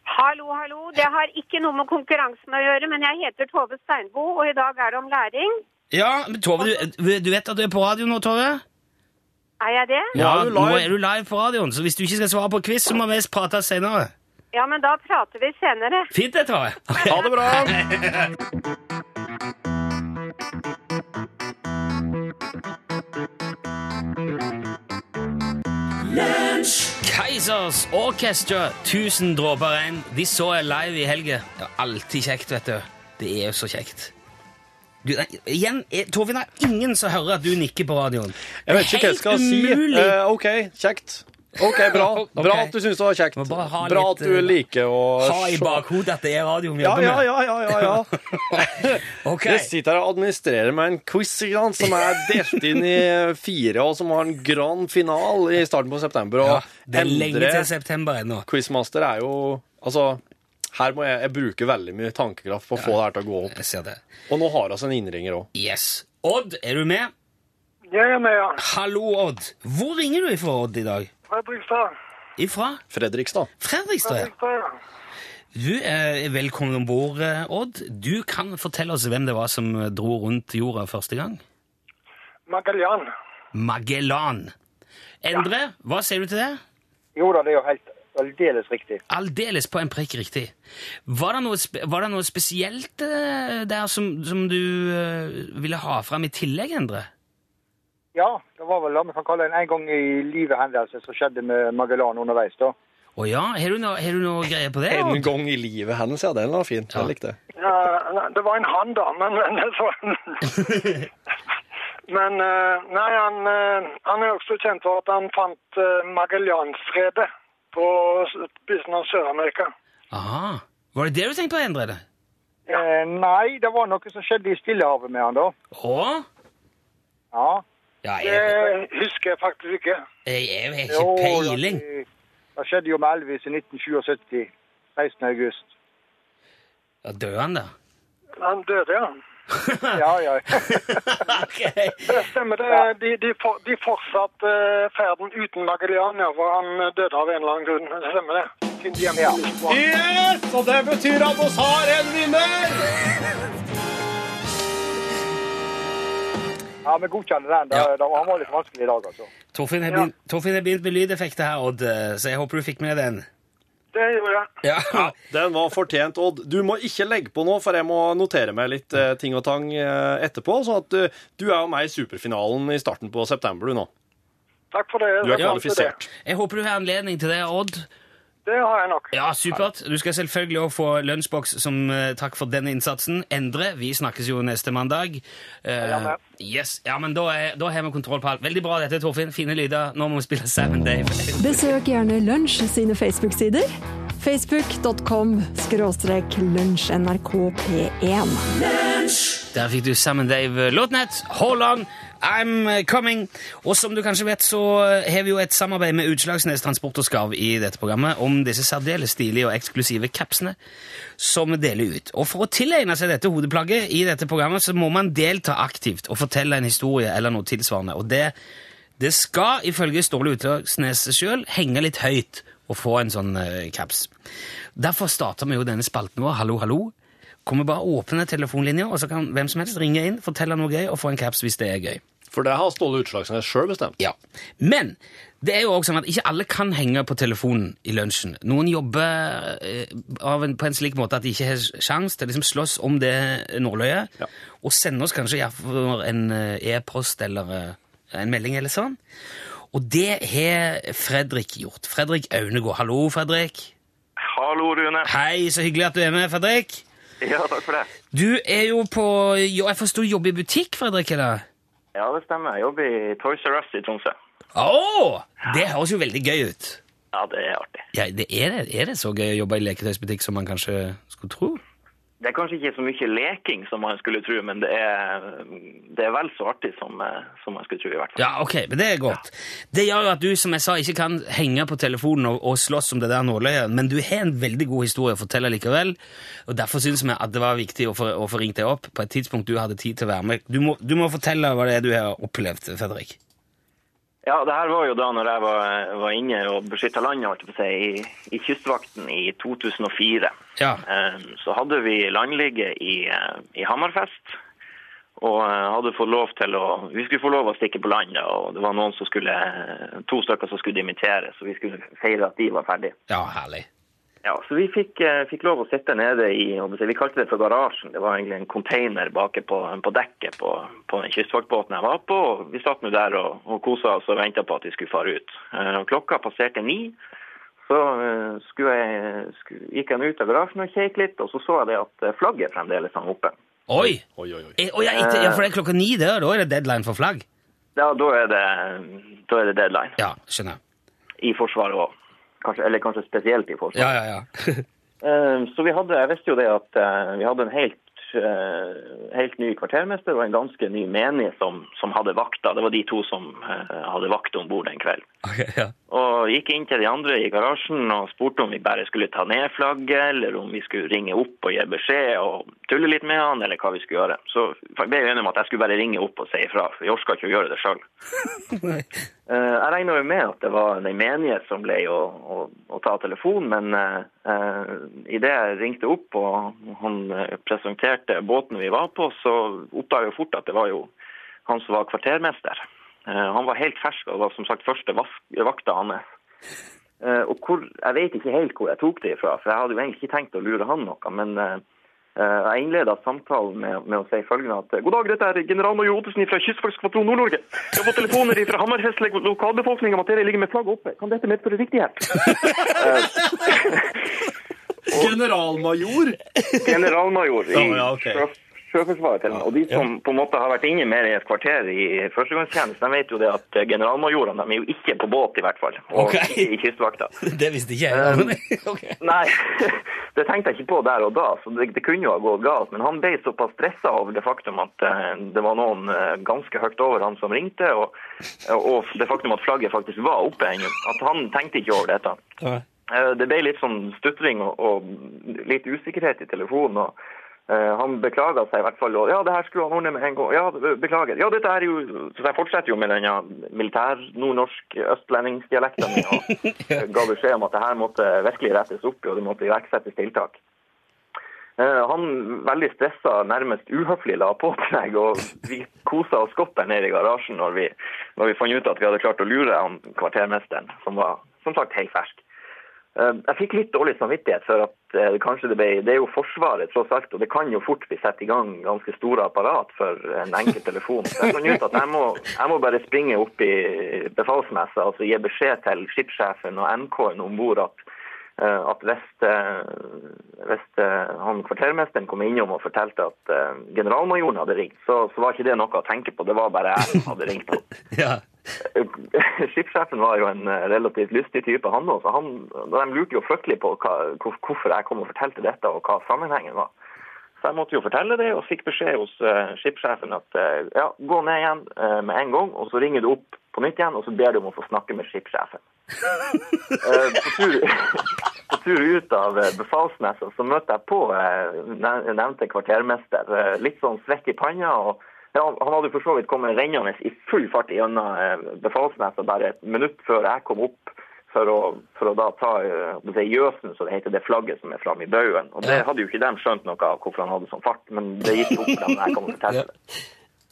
S7: Hallo, hallo. Det har ikke noe med konkurransen å gjøre, men jeg heter Tove Steinbo, og i dag er det om læring.
S1: Ja, men Tove, du, du vet at du er på radio nå, Tove?
S7: Er jeg det?
S6: Ja. er du live.
S1: nå er du live på radioen, så hvis du ikke skal svare på quiz, så må vi prate senere.
S7: Ja, men da prater vi senere.
S1: Fint det, Tove. Ok.
S6: Ha det bra!
S1: Keisers Orchestra, 1000 dråper regn. De så jeg live i helge. Det er alltid kjekt, vet du. Det er jo så kjekt. Du, nei, igjen, eh, Tove, det er ingen som hører at du nikker på radioen.
S6: Jeg vet ikke hva jeg skal si.
S1: Helt umulig.
S6: Eh, OK, kjekt. OK, bra.
S1: *laughs* Ok.
S6: Bra at du syns det var kjekt.
S1: Må bare
S6: Bra
S1: ha litt,
S6: at du
S1: eh,
S6: liker å
S1: Ha i
S6: se-
S1: bakhodet at det er radioen vi
S6: Ja,
S1: jobber
S6: ja,
S1: med.
S6: ja, ja, ja, ja.
S1: *laughs* Ok.
S6: Jeg sitter her og administrerer med en quiz ikke sant, som er delt inn i fire, og som har en grand final i starten på september. Og
S1: Ja, det er lenge
S6: Endre-
S1: til september ennå.
S6: Quizmaster er jo Altså, her må jeg, jeg bruke veldig mye tankekraft på å få det her til å gå opp.
S1: Jeg ser det.
S6: Og nå har vi altså en innringer òg.
S1: Yes. Odd, er du med?
S8: Jeg er med, ja.
S1: Hallo, Odd. Hvor ringer du ifra, Odd, i dag?
S8: Fredrikstad.
S1: Ifra
S6: Fredrikstad.
S1: Fredrikstad? ja.
S8: Fredrikstad, ja.
S1: Du er velkommen om bord, eh, Odd. Du kan fortelle oss hvem det var som eh, dro rundt jorda første gang.
S8: Magellan.
S1: Magellan. Endre, hva sier du til det?
S5: Jo da, det er jo helt aldeles riktig.
S1: Aldeles på en prikk riktig. Var det noe, spe var det noe spesielt eh, der som, som du eh, ville ha fram i tillegg, Endre?
S5: Ja, det var vel det vi kan kalle en en gang i livet-hendelse som skjedde med Magellan underveis, da.
S1: Å ja, har du noe, har du noe greie på det?
S6: En
S1: Odd?
S6: gang i livet hennes, ja. Den var fin. Jeg likte det.
S8: Ja, nei, det var en han, da, men men det var en... Men eh, nei, han, eh, han er også kjent for at han fant eh, Magellansredet på spissen av Sør-Amerika.
S1: Aha. Var det det du tenkte på, Endre? eller?
S5: Eh, nei, det var noe som skjedde i Stillehavet med han, da.
S1: Å?
S5: Ja.
S1: Ja,
S8: Det
S1: jeg,
S8: husker jeg faktisk ikke.
S1: jeg, jeg har
S5: Jo,
S1: ikke peiling.
S5: ja, Det, det skjedde jo med Elvis i 1977. 16. august.
S1: Ja, Dør han, da?
S8: Han døde, ja.
S5: Ja, ja. *laughs*
S1: ok.
S8: Det stemmer. det. De, de, for, de fortsatte eh, ferden uten Magellan, ja, for han eh, døde av en eller annen grunn. Det stemmer det. Siden de
S5: Ja.
S8: hjemme-
S6: Yes! Og det betyr at vi har en vinner!
S5: ja, vi godkjenner den. Det,
S1: Ja.
S5: det var, han var litt vanskelig i dag, altså.
S1: Torfinn har begynt- Torfinn har begynt med lydeffekter her, Odd, eh, så jeg håper du fikk med den.
S8: Det gjorde jeg.
S1: Ja.
S6: Ja, den var fortjent, Odd. Du må ikke legge på nå, for jeg må notere meg litt eh, ting og tang eh, etterpå. Så at eh, du er jo med i superfinalen i starten på september, du nå.
S8: Takk for det.
S6: Du er
S8: Jeg fant til det.
S6: kvalifisert.
S1: Jeg håper du har anledning til det, Odd.
S8: Det har jeg nok.
S1: Ja, supert. Du skal selvfølgelig også få lunsjboks som eh, takk for den innsatsen. Endre, vi snakkes jo neste mandag. Eh,
S8: Ja, men.
S1: yes. ja, men da, er, da har vi kontroll på alt. Veldig bra dette, Torfinn. Fine lyder. Nå må vi spille Sam and Dave.
S9: Besøk gjerne Lunsj sine Facebook-sider. Facebook.com skråstrek lunsjnrkp1.
S1: Der fikk du Sam and Dave Låtnett. Hold on, I'm eh, coming. Og som du kanskje vet, så eh, har vi jo et samarbeid med Utslagsnes Transport og Skarv i dette programmet om disse særdeles stilige og eksklusive capsene som vi deler ut. Og for å tilegne seg dette hodeplagget i dette programmet, så må man delta aktivt og fortelle en historie eller noe tilsvarende. Og det, det skal, ifølge Ståle Utslagsnes sjøl, henge litt høyt å få en sånn eh, caps. Derfor starter vi jo denne spalten vår, Hallo, hallo kan vi bare åpne telefonlinja, og så kan hvem som helst ringe inn, fortelle noe gøy og få en caps hvis det er gøy.
S2: For det har Ståle Utslagsnes sjøl bestemt.
S1: Ja. Men det er jo også sånn at ikke alle kan henge på telefonen i lunsjen. Noen jobber eh, av en, på en slik måte at de ikke har sjans til å liksom slåss om det nåløyet,
S2: Ja.
S1: og sende oss kanskje i hvert fall en eh, e-post eller eh, en melding eller sånn. Og det har Fredrik gjort. Fredrik Aunegård. Hallo, Fredrik.
S10: Hallo, Rune.
S1: Hei, så hyggelig at du er med, Fredrik.
S10: Ja, takk for det.
S1: Du er jo på jo, Jeg forstår jobb i butikk, Fredrik? eller?
S10: Ja, det stemmer. Jeg jobber i Toys R Us i Tromsø.
S1: Å! det høres jo veldig gøy ut.
S10: Ja, det er artig.
S1: Ja, det er, det, er det så gøy å jobbe i leketøysbutikk som man kanskje skulle tro?
S10: Det er kanskje ikke så mye leking som man skulle tro, men det er, det er vel så artig som, eh, som man skulle tro, i hvert fall.
S1: Ja, ok, men det er godt. Det gjør jo at du, som jeg sa, ikke kan henge på telefonen og, og slåss om det der nåløyet, men du har en veldig god historie å fortelle likevel, og derfor syns vi at det var viktig å få, å få ringt deg opp på et tidspunkt du hadde tid til å være med. Du må, du må fortelle hva det er du har opplevd, Fredrik.
S10: Ja, det her var jo da når jeg var, var inne og beskytta landet holdt jeg på å si, i, i Kystvakten i 2004.
S1: Ja.
S10: Eh, Så hadde vi landligge i, eh, i Hammerfest. Og eh, hadde fått lov til å, vi skulle få lov å stikke på land, da, og det var noen som skulle, eh, to stykker som skulle dimittere, så vi skulle feire at de var ferdige.
S1: Ja, herlig.
S10: Ja, så vi fikk, eh, fikk lov å sitte nede i, hva skal jeg si, vi kalte det for garasjen, det var egentlig en container bak på, på dekket på, på den kystvaktbåten jeg var på, og vi satt nå der og, og koset oss og ventet på at vi skulle fare ut. Eh, og Klokka passerte ni, så eh, skulle jeg, skulle, gikk jeg nå ut av garasjen og kjekk litt, og så så jeg det at eh, flagget fremdeles hang oppe.
S1: Oi!
S2: Oi, oi, oi.
S1: Eh, Å ja, etter, ja, for det er klokka ni der, og da er det deadline for flagg.
S10: Ja, da er det, da er det deadline,
S1: Ja, skjønner.
S10: i forsvaret også. Kanskje, eller kanskje spesielt i forsvaret.
S1: Ja, ja, ja. *laughs*
S10: Eh, Så vi hadde, jeg visste jo det at eh, vi hadde en helt, eh, helt ny kvartermester og en ganske ny menig som, som hadde vakta. Det var de to som eh, hadde vakt om bord den kvelden.
S1: Ok, ja. *laughs*
S10: Og gikk inn til de andre i garasjen og spurte om vi bare skulle ta ned flagget, eller om vi skulle ringe opp og gi beskjed og tulle litt med han, eller hva vi skulle gjøre. Så jeg ble enig om at jeg skulle bare ringe opp og si ifra, for jeg orka ikke å gjøre det sjøl. Eh, Jeg regna jo med at det var den menige som ble å, å, å ta telefonen, men eh, eh, i idet jeg ringte opp og han eh, presenterte båten vi var på, så oppdaga jeg jo fort at det var jo han som var kvartermester. Eh, han var helt fersk og var som sagt første vask- vakta hans. Eh, og hvor, jeg vet ikke helt hvor jeg tok det ifra, for jeg hadde jo egentlig ikke tenkt å lure han noe. Men eh, eh, jeg innleda samtalen med, med å si følgende at eh, God dag, dette er generalmajor Ottesen fra Kystvaktskvadron Nord-Norge. Jeg har fått telefoner fra Hammerfest lo- lokalbefolkning om at dere ligger med flagget oppe. Kan dette medføre riktighet?
S2: *laughs* Generalmajor!
S10: Generalmajor i
S2: Ja, ja, ok.
S10: sjø- Sjøforsvaret. til og med. Og de som på en måte har vært inne mer i et kvarter i førstegangstjeneste, de vet jo det at eh, generalmajorene de er jo ikke på båt, i hvert fall. Og
S1: Ok.
S10: ikke i
S2: *laughs*
S10: kystvakta.
S1: Det visste ikke jeg. men- *laughs* ok.
S10: *laughs* Nei, det tenkte jeg ikke på der og da, så det, det kunne jo ha gått galt. Men han ble såpass stressa over det faktum at eh, det var noen eh, ganske høyt over han som ringte, og, og det faktum at flagget faktisk var oppe ennå. At han tenkte ikke over dette. Eh, Det ble litt sånn stutring og, og litt usikkerhet i telefonen. og eh, han beklaga seg i hvert fall. og Ja, det her skulle han ordne med en gang. Ja, be- beklager. Ja, dette er jo Så jeg fortsetter jo med denne militær-nordnorsk-østlendingsdialekten min og ga beskjed om at det her måtte virkelig rettes opp i, og det måtte iverksettes tiltak. Eh, Han veldig stressa, nærmest uhøflig la på til meg, og vi kosa oss godt der nede i garasjen når vi, når vi fant ut at vi hadde klart å lure han kvartermesteren, som var som sagt helt fersk. Eh, Jeg fikk litt dårlig samvittighet for at eh, kanskje det ble Det er jo Forsvaret, tross alt, og det kan jo fort bli satt i gang ganske store apparat for en enkel telefon. Så jeg fant ut at jeg må, jeg må bare springe opp i befalsmessa, altså gi beskjed til skipssjefen og MK-en om bord at eh, at hvis, eh, hvis eh, han kvartermesteren kom innom og fortalte at eh, generalmajoren hadde ringt, så, så var ikke det noe å tenke på, det var bare jeg som hadde ringt opp. *laughs*
S1: Ja.
S10: Skipssjefen var jo en eh, relativt lystig type, han også. Han, de lurte jo fryktelig på hva, hvor- hvorfor jeg kom og fortalte dette, og hva sammenhengen var. Så jeg måtte jo fortelle det, og fikk beskjed hos eh, skipssjefen at eh, ja, gå ned igjen eh, med en gang, og så ringer du opp på nytt igjen, og så ber du om å få snakke med skipssjefen. Eh, på, tur, *laughs* på tur ut av eh, befalsmessa så møtte jeg på eh, nev- nevnte kvartermester, eh, litt sånn svett i panna. og ja, Han hadde for så vidt kommet rennende i full fart gjennom eh, befalsmessa bare et minutt før jeg kom opp. For å, for å da ta eh, det er gjøsen, så det heter det flagget som er framme i baugen. Og det hadde jo ikke de skjønt noe av hvorfor han hadde sånn fart, men det gikk jo opp for dem når jeg kom og fortalte det.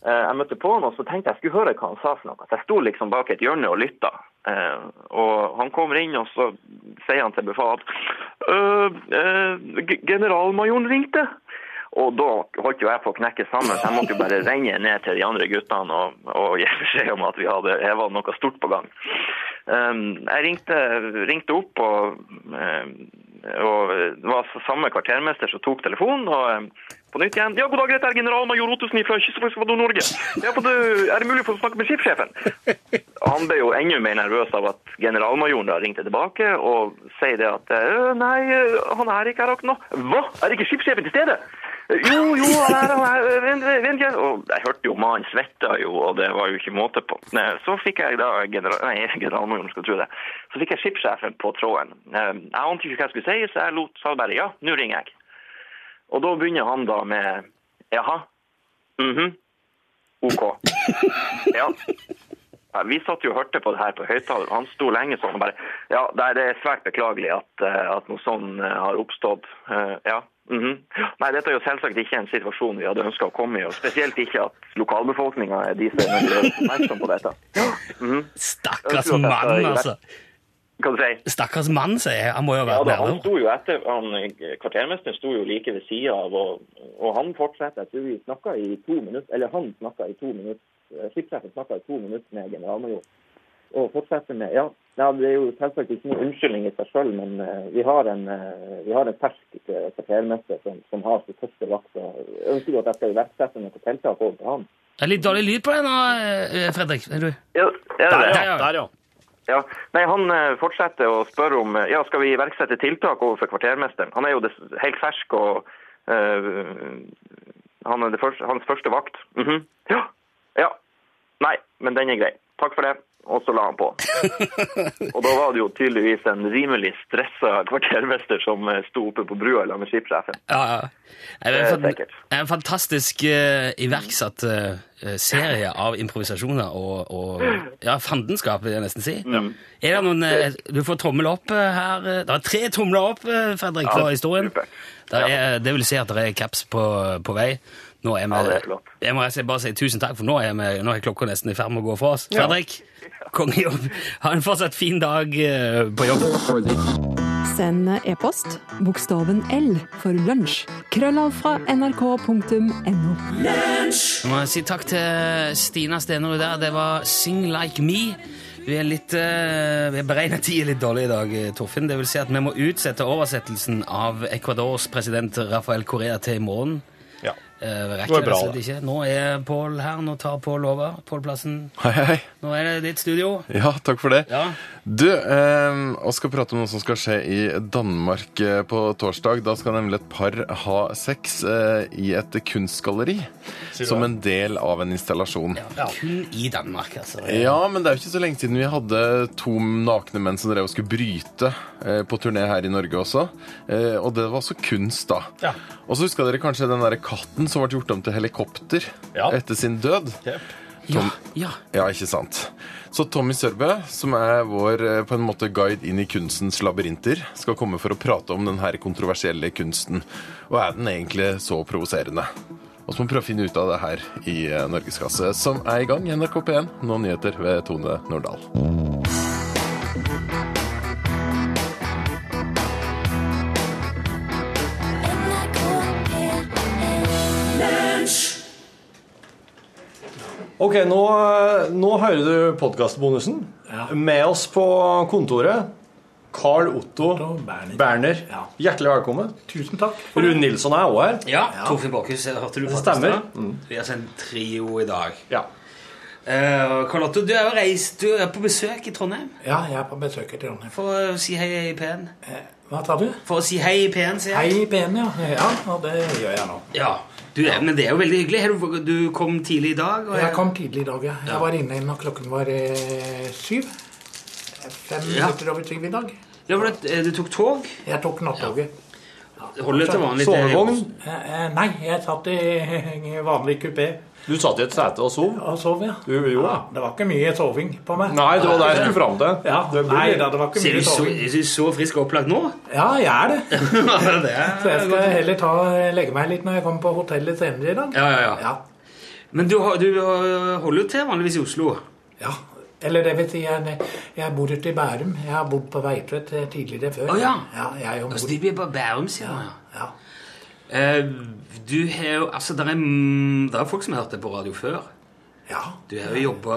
S10: Eh, Jeg møtte på han, og så tenkte jeg skulle høre hva han sa. for noe. Så Jeg sto liksom bak et hjørne og lytta. Eh, og han kommer inn, og så sier han til befalet at «Øh, øh, g- generalmajoren ringte. Og da holdt jo jeg på å knekke sammen, så jeg måtte jo bare renne ned til de andre guttene og, og gi beskjed om at vi hadde heva noe stort på gang. Um, jeg ringte, ringte opp, og, um, og det var s- samme kvartermester som tok telefonen. og um, på nytt igjen. Ja, god dag, dette er generalmajor Ottosen fra Kystforsvaret Norge. Ja, for det, er det mulig å få snakke med skipssjefen? Han ble jo enda mer nervøs av at generalmajoren da ringte tilbake og sier det at «Øh, nei, øh, han er ikke her akkurat nå. Hva? Er ikke skipssjefen til stede? Jo, jo, han er han er, øh, vent, vent, vent. Og jeg hørte jo mannen svetta jo, og det var jo ikke måte på. Nei, Så fikk jeg da general, nei, *laughs* generalmajoren, skal tro det. Så fikk jeg skipssjefen på tråden. Eh, Jeg ante ikke hva jeg skulle si, så jeg lot, sa bare ja, nå ringer jeg. Og da begynner han da med Jaha. Mhm. OK. Ja. ja. Vi satt jo og hørte på det her på høyttaler. Han sto lenge sånn og bare Ja, nei, det er svært beklagelig at, eh, at noe sånn eh, har oppstått. Eh, ja. mhm. Nei, dette er jo selvsagt ikke en situasjon vi hadde ønska å komme i. Og spesielt ikke at lokalbefolkninga er de som er nødt til å være oppmerksom på dette. Mhm.
S1: Stakkars mann, altså.
S10: Hva du sier
S1: Stakkars mann, sier jeg. Han må jo ha
S10: Ja,
S1: vært
S10: da, han
S1: nærmere.
S10: sto jo etter, han, Kvartermesteren sto jo like ved sida av, og, og han fortsatte. Jeg tror vi snakka i to minutter, eller han snakka i to minutter, eh, skipssjefen snakka i to minutter med generalmajor. Og fortsetter med ja, ja, det er jo selvsagt ikke noen unnskyldning i seg sjøl, men eh, vi har en, eh, vi har en fersk eh, kvartermester som, som har sin første vakt. og jeg Ønsker jo at jeg skal iverksette noen tiltak overfor han.
S1: Det er litt dårlig lyd på deg nå, eh, Fredrik. Er du?
S10: Ja,
S1: Der, ja.
S2: Der, ja.
S10: Ja, nei, Han eh, fortsetter å spørre om eh, ja, skal vi iverksette tiltak overfor kvartermesteren. Han er jo dess- helt fersk og eh, han er det første, hans første vakt. Mhm. Ja! Ja. Nei, men den er grei. Takk for det. Og så la han på. Og da var det jo tydeligvis en rimelig stressa kvartermester som eh, sto oppe på brua sammen med skipssjefen.
S1: Ja, ja. Det er
S10: Det er
S1: en, fan-
S10: sikkert.
S1: en fantastisk eh, iverksatt eh, serie av improvisasjoner og, og ja, fandenskap, vil jeg nesten si. Er det noen eh, Du får tommel opp eh, her. eh, Det er tre tomler opp, eh, Fredrik,
S10: Ja,
S1: for historien.
S10: supert.
S1: Der er, det vil si at det er caps på, på vei. Nå er vi,
S10: Ja, det er flott.
S1: jeg må rett og slett bare si tusen takk, for nå er, vi, nå er klokka nesten i ferd med å gå fra oss. Fredrik, kongejobb. Ha en fortsatt fin dag eh, på jobb.
S9: Send e-post bokstaven L for lunsj. Krøllalfra nrk.no.
S1: Jeg må si takk til Stina Stenerud der. Det var Sing Like Me. Vi er litt eh, Vi beregner tida litt dårlig i dag, eh, Torfinn. Det vil si at vi må utsette oversettelsen av Ecuadors president Rafael Correa til i morgen.
S2: Ja.
S1: Eh, vi
S2: Nå er
S1: rekker
S2: det
S1: rett
S2: bra,
S1: og slett
S2: det.
S1: ikke. Nå er Pål her. Nå tar Pål over. Pål-plassen.
S11: Hei, hei.
S1: Nå er det ditt studio.
S11: *laughs* Ja, takk for det.
S1: Ja.
S11: Du, eh, og skal prate om noe som skal skje i Danmark eh, på torsdag. Da skal nemlig et par ha sex eh, i et kunstgalleri som en del av en installasjon. Ja.
S1: Kun i Danmark, altså.
S11: men det er jo ikke så lenge siden vi hadde to nakne menn som drev og skulle bryte eh, på turné her i Norge også. Eh, og det var også kunst, da.
S2: Ja.
S11: Og så huska dere kanskje den derre katten som ble gjort om til helikopter
S2: Ja.
S11: etter sin død?
S1: Ja, ja.
S11: Ja, ikke sant. Så Tommy Sørbø, som er vår eh, på en måte guide inn i kunstens labyrinter, skal komme for å prate om den her kontroversielle kunsten. Og er den egentlig så provoserende? Og så må vi prøve å finne ut av det her i eh, Norgeskasse, som er i gang i NRK P1. Nå nyheter ved Tone Nordahl.
S2: Ok, nå, nå hører du podkastbonusen. Med oss på kontoret
S6: Carl Otto Berner. Hjertelig velkommen.
S10: Tusen takk.
S6: Rune Nilsson er også her.
S1: Ja, Torfinn Bakhus, hørte du
S6: Det
S1: faktisk
S6: stemmer.
S1: da? Vi har sendt trio i dag. Eh, Karl Otto, du er jo reist, du er på besøk i Trondheim.
S10: Ja, jeg er på besøk i Trondheim.
S1: For å si hei i P1.
S10: Hva sa du?
S1: For å si hei i P1, sier
S10: Hei
S1: jeg.
S10: i ben, ja. ja. Og det gjør jeg nå.
S1: Ja, du, er- Men det er jo veldig hyggelig. Har Du, du kom tidlig i dag. og-
S10: Jeg kom tidlig i dag, ja. Jeg var inne når klokken var eh, syv. Fem
S1: Ja.
S10: minutter over syv i dag.
S1: Ja, for det, eh, Du tok tog?
S10: Jeg tok nattoget.
S1: Holder til vanlig til-
S10: Eh, eh, Nei, jeg satt i *laughs* eh, vanlig kupé.
S6: Du satt i et sete og sov?
S10: Og sov, ja.
S6: Du gjorde
S10: ja. Det var ikke mye soving på meg.
S6: Nei, det var
S10: *laughs*
S6: det jeg skulle fram til.
S10: Ja,
S6: Det blir-
S10: nei, da, det var ikke
S1: Ser du
S10: mye
S1: så,
S10: soving.
S1: er du så frisk og opplagt nå?
S10: Ja, jeg er
S1: *laughs*
S10: det.
S1: det
S10: Så
S1: er
S10: jeg skal heller ta, legge meg litt når jeg kommer på hotellet senere i dag.
S1: Ja, ja, ja. Men du, har- du har- holder jo til vanligvis i Oslo.
S10: Eller det vil si, jeg, jeg bor ute i Bærum. Jeg har bodd på Veitvet eh, tidligere før.
S1: Å, ja.
S10: jeg er jo
S1: Altså,
S10: mor.
S1: de blir bare Bærum, sier man. Ja. Eh, du har jo Altså, det er, mm, der er folk som har hørt deg på radio før.
S10: Ja.
S1: Du har jo jobba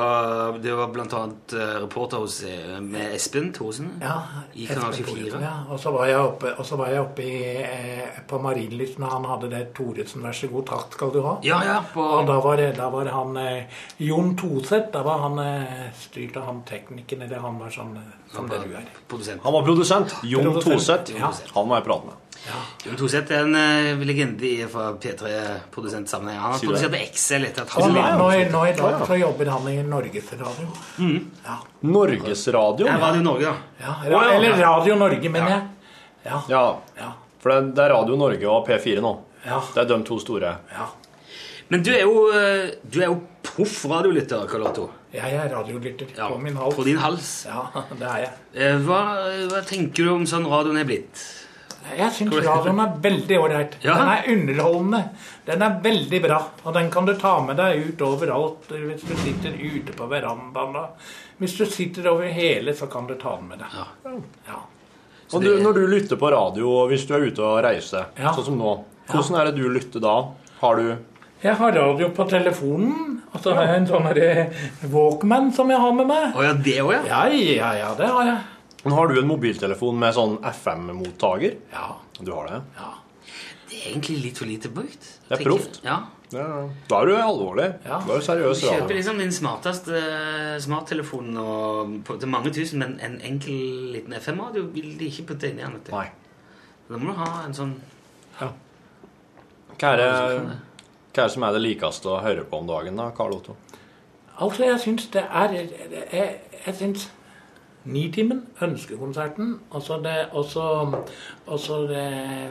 S1: Du var blant annet eh, reporter hos, eh, med Espen Thorsen
S10: Ja,
S1: i Kanal
S10: Espen
S1: 24.
S10: Thoresen, Ja. Og så var jeg oppe, og så var jeg oppe i, eh, på Marienlyst når han hadde det 'Thoresen, vær så god, takk skal du ha'.
S1: Ja, ja,
S10: Og da var, det- da var han eh, Jon Toseth. Da var han eh, styrt av han teknikken, eller han var sånn eh, som det du er.
S6: Han var produsent. Jon Toseth.
S10: Produsent. Ja.
S6: Han må jeg prate med.
S1: Jon Toseth er en eh, legende i- fra P3-produsentsammenheng. Han har
S6: Sier du det?
S1: produsert Excel etter at
S10: Og
S1: han
S10: nå, nå, i- nå i
S1: Ja,
S10: dag
S1: ja.
S10: så jobber han i Norges Radio.
S1: Mm.
S6: Norgesradio?
S1: Ja, Radio Norge, da.
S10: Ja, ra- eller Radio Norge, mener jeg. Ja.
S6: For det, det er Radio Norge og P4 nå.
S10: Ja.
S6: Det er de to store.
S1: Men du er jo, eh, du er jo proff radiolytter, Karl Otto.
S10: Jeg er radiolytter på min hals.
S1: På din hals.
S10: Ja, *laughs* det er jeg.
S1: Eh, Hva, hva tenker du om sånn radioen er blitt?
S10: Jeg syns radioen er veldig ålreit.
S1: Ja.
S10: Den er underholdende. Den er veldig bra. Og den kan du ta med deg ut overalt hvis du sitter ute på verandaen. da. Hvis du sitter over hele, så kan du ta den med deg.
S6: Og du, når du lytter på radio, og hvis du er ute og reiser, sånn som nå, hvordan er det du lytter da? Har du
S10: Jeg har radio på telefonen, og så har jeg en sånn herre Walkman som jeg har med meg.
S1: Å ja, det òg, ja?
S10: Ja, ja, ja, det har jeg.
S6: Men har du en mobiltelefon med sånn FM-mottaker?
S10: Ja.
S6: Du har det?
S10: Ja.
S1: Det er egentlig litt for lite brukt.
S6: Det er
S1: tenker-
S6: proft.
S1: Ja.
S6: Da er du alvorlig. Da er du
S1: Du
S6: seriøs
S1: kjøper
S6: radio.
S1: liksom din smarteste eh, smarttelefon og, på, til mange tusen, men en enkel liten FM-radio vil de ikke putte inn i den. vet du. Da må du ha en sånn
S6: Hva er det, hva er det som er det likeste å høre på om dagen, da, Karl Otto?
S10: Altså, jeg syns det er Jeg, jeg syns Nitimen, Ønskekonserten, og
S12: altså
S10: så det- og så- og så det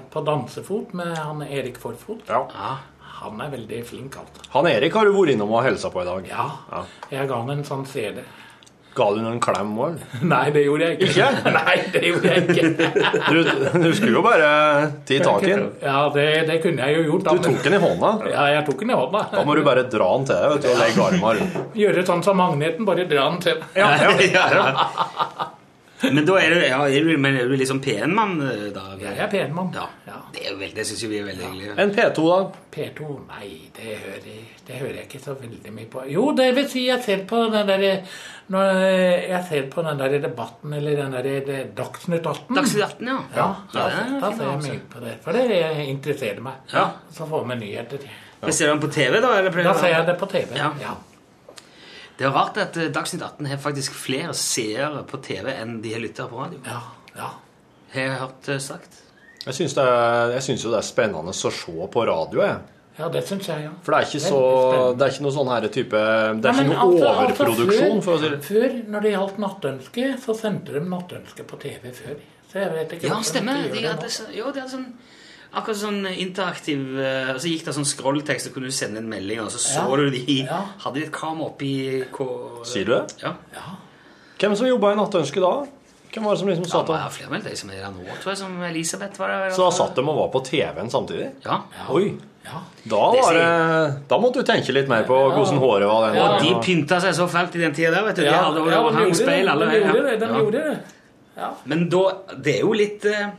S10: på dansefot med han Erik Forfot. Han er veldig flink, alt.
S6: Han Erik har du vært innom og hilsa på i dag.
S10: Ja. Jeg ga han en sånn CD.
S6: Ga du ham en klem òg?
S10: *laughs* Nei, det gjorde jeg ikke. *laughs* Nei, det gjorde jeg ikke.
S6: *laughs* Du, du skulle jo bare ti tak i den.
S10: Ja, det, det kunne jeg jo gjort. da,
S6: Du
S10: men-
S6: tok den i hånda.
S10: Ja, jeg tok den i hånda.
S6: Da må du bare dra den til deg vet du, og legge armen rundt.
S10: Gjøre sånn som magneten, bare dra den til.
S1: *laughs* Men da er du, ja, er du, men er du liksom pen-mann eh, da?
S10: Jeg er pen mann.
S1: Ja. Det, er jo veldig- det syns jo vi er veldig hyggelig.
S6: En P2, da?
S10: P2? Nei, det hører, det hører jeg ikke så veldig mye på. Jo, det vil si jeg ser på den der, når jeg ser på den der debatten eller den der det- eh, Dagsnytt 18.
S1: Dagsnytt 18, ja.
S10: Mm. Ja,
S1: Ja,
S10: da,
S1: det er
S10: da
S1: fint,
S10: ser jeg
S1: altså.
S10: mye på det. For det er det jeg interesserer meg.
S1: Ja.
S10: Så får vi nyheter.
S1: Men Ser du den på TV, da? Eller
S10: Da ser jeg det på TV.
S1: Ja.
S10: Ja.
S1: Det er rart at eh, Dagsnytt 18 har faktisk flere seere på TV enn de har lyttere på radio.
S10: Ja, ja.
S1: Har jeg hørt eh, sagt.
S6: Jeg syns, det er, jeg syns jo det er spennende å se på radio, jeg.
S10: Ja, det syns jeg, ja.
S6: For det er ikke, så, det er ikke noe sånn her type Det er
S10: Nei,
S6: ikke
S10: men
S6: noe
S10: altså- altså
S6: overproduksjon,
S10: før-
S6: for å si det
S10: Før, når det gjaldt Nattønske, så sendte de Nattønske på TV før. Så jeg vet ikke
S1: Ja,
S10: hvorfor de
S1: stemmer.
S10: ikke gjør
S1: De
S10: det nå.
S1: hadde, så- jo, det er sånn Akkurat sånn interaktiv eh, Og så gikk det sånn scrolltekst, så kunne du sende en melding, og så så
S6: Ja.
S1: du de Hadde de et kamera oppi K...
S6: Sier du det?
S1: Ja.
S6: Hvem som jobba i Nattønsket da? Hvem var det som liksom satt
S1: Jeg
S6: der?
S1: har flere med deg som er der nå, tror jeg, som Elisabeth var der.
S6: Så da satt de og var på TV-en samtidig?
S1: Ja.
S6: Oi. Da,
S1: Det
S6: var
S1: sier-
S6: det, da måtte du tenke litt mer på hvordan håret var. den
S1: Og de
S6: gangen.
S1: pynta seg så fælt i den tida der, vet du. De
S6: Ja,
S1: hadde
S6: ja, de
S1: hang
S6: gjorde det.
S1: speil
S6: De
S1: alle
S6: gjorde
S1: ja.
S6: det, de
S1: Ja.
S6: gjorde
S10: det.
S1: Men da Det er jo litt eh,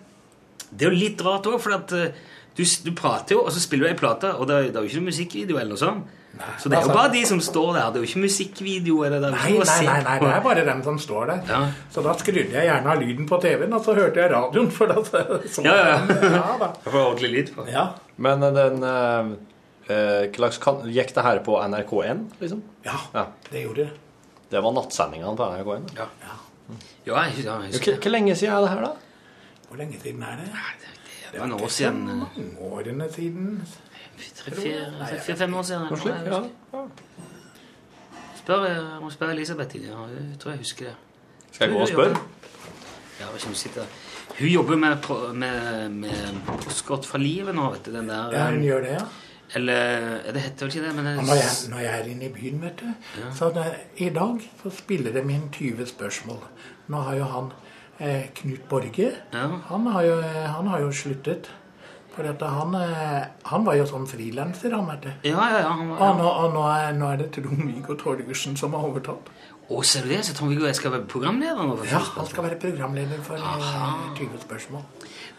S1: Det er jo litt rart òg, for at eh, du, s- du prater jo, og så spiller du ei plate, og det, er- det er jo ikke noe musikkvideo eller noe sånt. Så det er jo
S12: altså-
S1: bare de som står der. Det er jo ikke musikkvideo. Eller det er jo
S12: Nei,
S1: ikke noe å
S12: nei,
S1: se
S12: nei, nei,
S1: på.
S12: det er bare dem som står der. Så da skrudde jeg gjerne av lyden på TV-en, og så hørte jeg radioen. For da
S8: sånn-
S12: så
S1: Ja, ja,
S12: ja da.
S6: Jeg får ordentlig lyd på.
S12: Ja.
S6: Men eh, den eh, eh, hva slags kan- Gikk det her på NRK1, liksom?
S12: Ja, det gjorde det.
S6: Det var nattsendingene på NRK1?
S1: Ja. Ja, jeg, ja, jeg
S6: Hvor hvor lenge siden er det her, da?
S12: Hvor lenge siden er det?
S1: Det var noen år siden. eh,
S12: Mange årene siden.
S1: Fire-fem år siden.
S12: Noe slikt, ja.
S1: Spør, jeg eh, må spørre Elisabeth. Ja, hun tror jeg husker det.
S6: Skal jeg
S1: Hun
S6: gå og
S1: jobber-
S6: spørre?
S1: Ja, hvis hun sitter der. Hun jobber med, pro- med, med postkort fra livet nå, vet du. Den der
S12: Ja, hun
S1: eh,
S12: gjør det, ja.
S1: Eller eh, Det heter jo ikke det, men det,
S12: Og når, jeg, når jeg er inne i byen, vet du,
S1: Ja.
S12: så det, i dag så spiller de inn 20 spørsmål. Nå har jo han eh, Knut Borge han, har jo, eh, han har jo sluttet. For at han, eh, han var jo sånn frilanser, han, vet du.
S1: Ja, ja, ja. Han, var-
S12: Og, nå, og nå, er, nå er det Trond-Viggo Torgersen som har overtatt.
S1: Å, ser du det? Så Trond-Viggo jeg skal være programleder nå? for
S12: Ja,
S1: første
S12: han skal være programleder for eh, 20 spørsmål.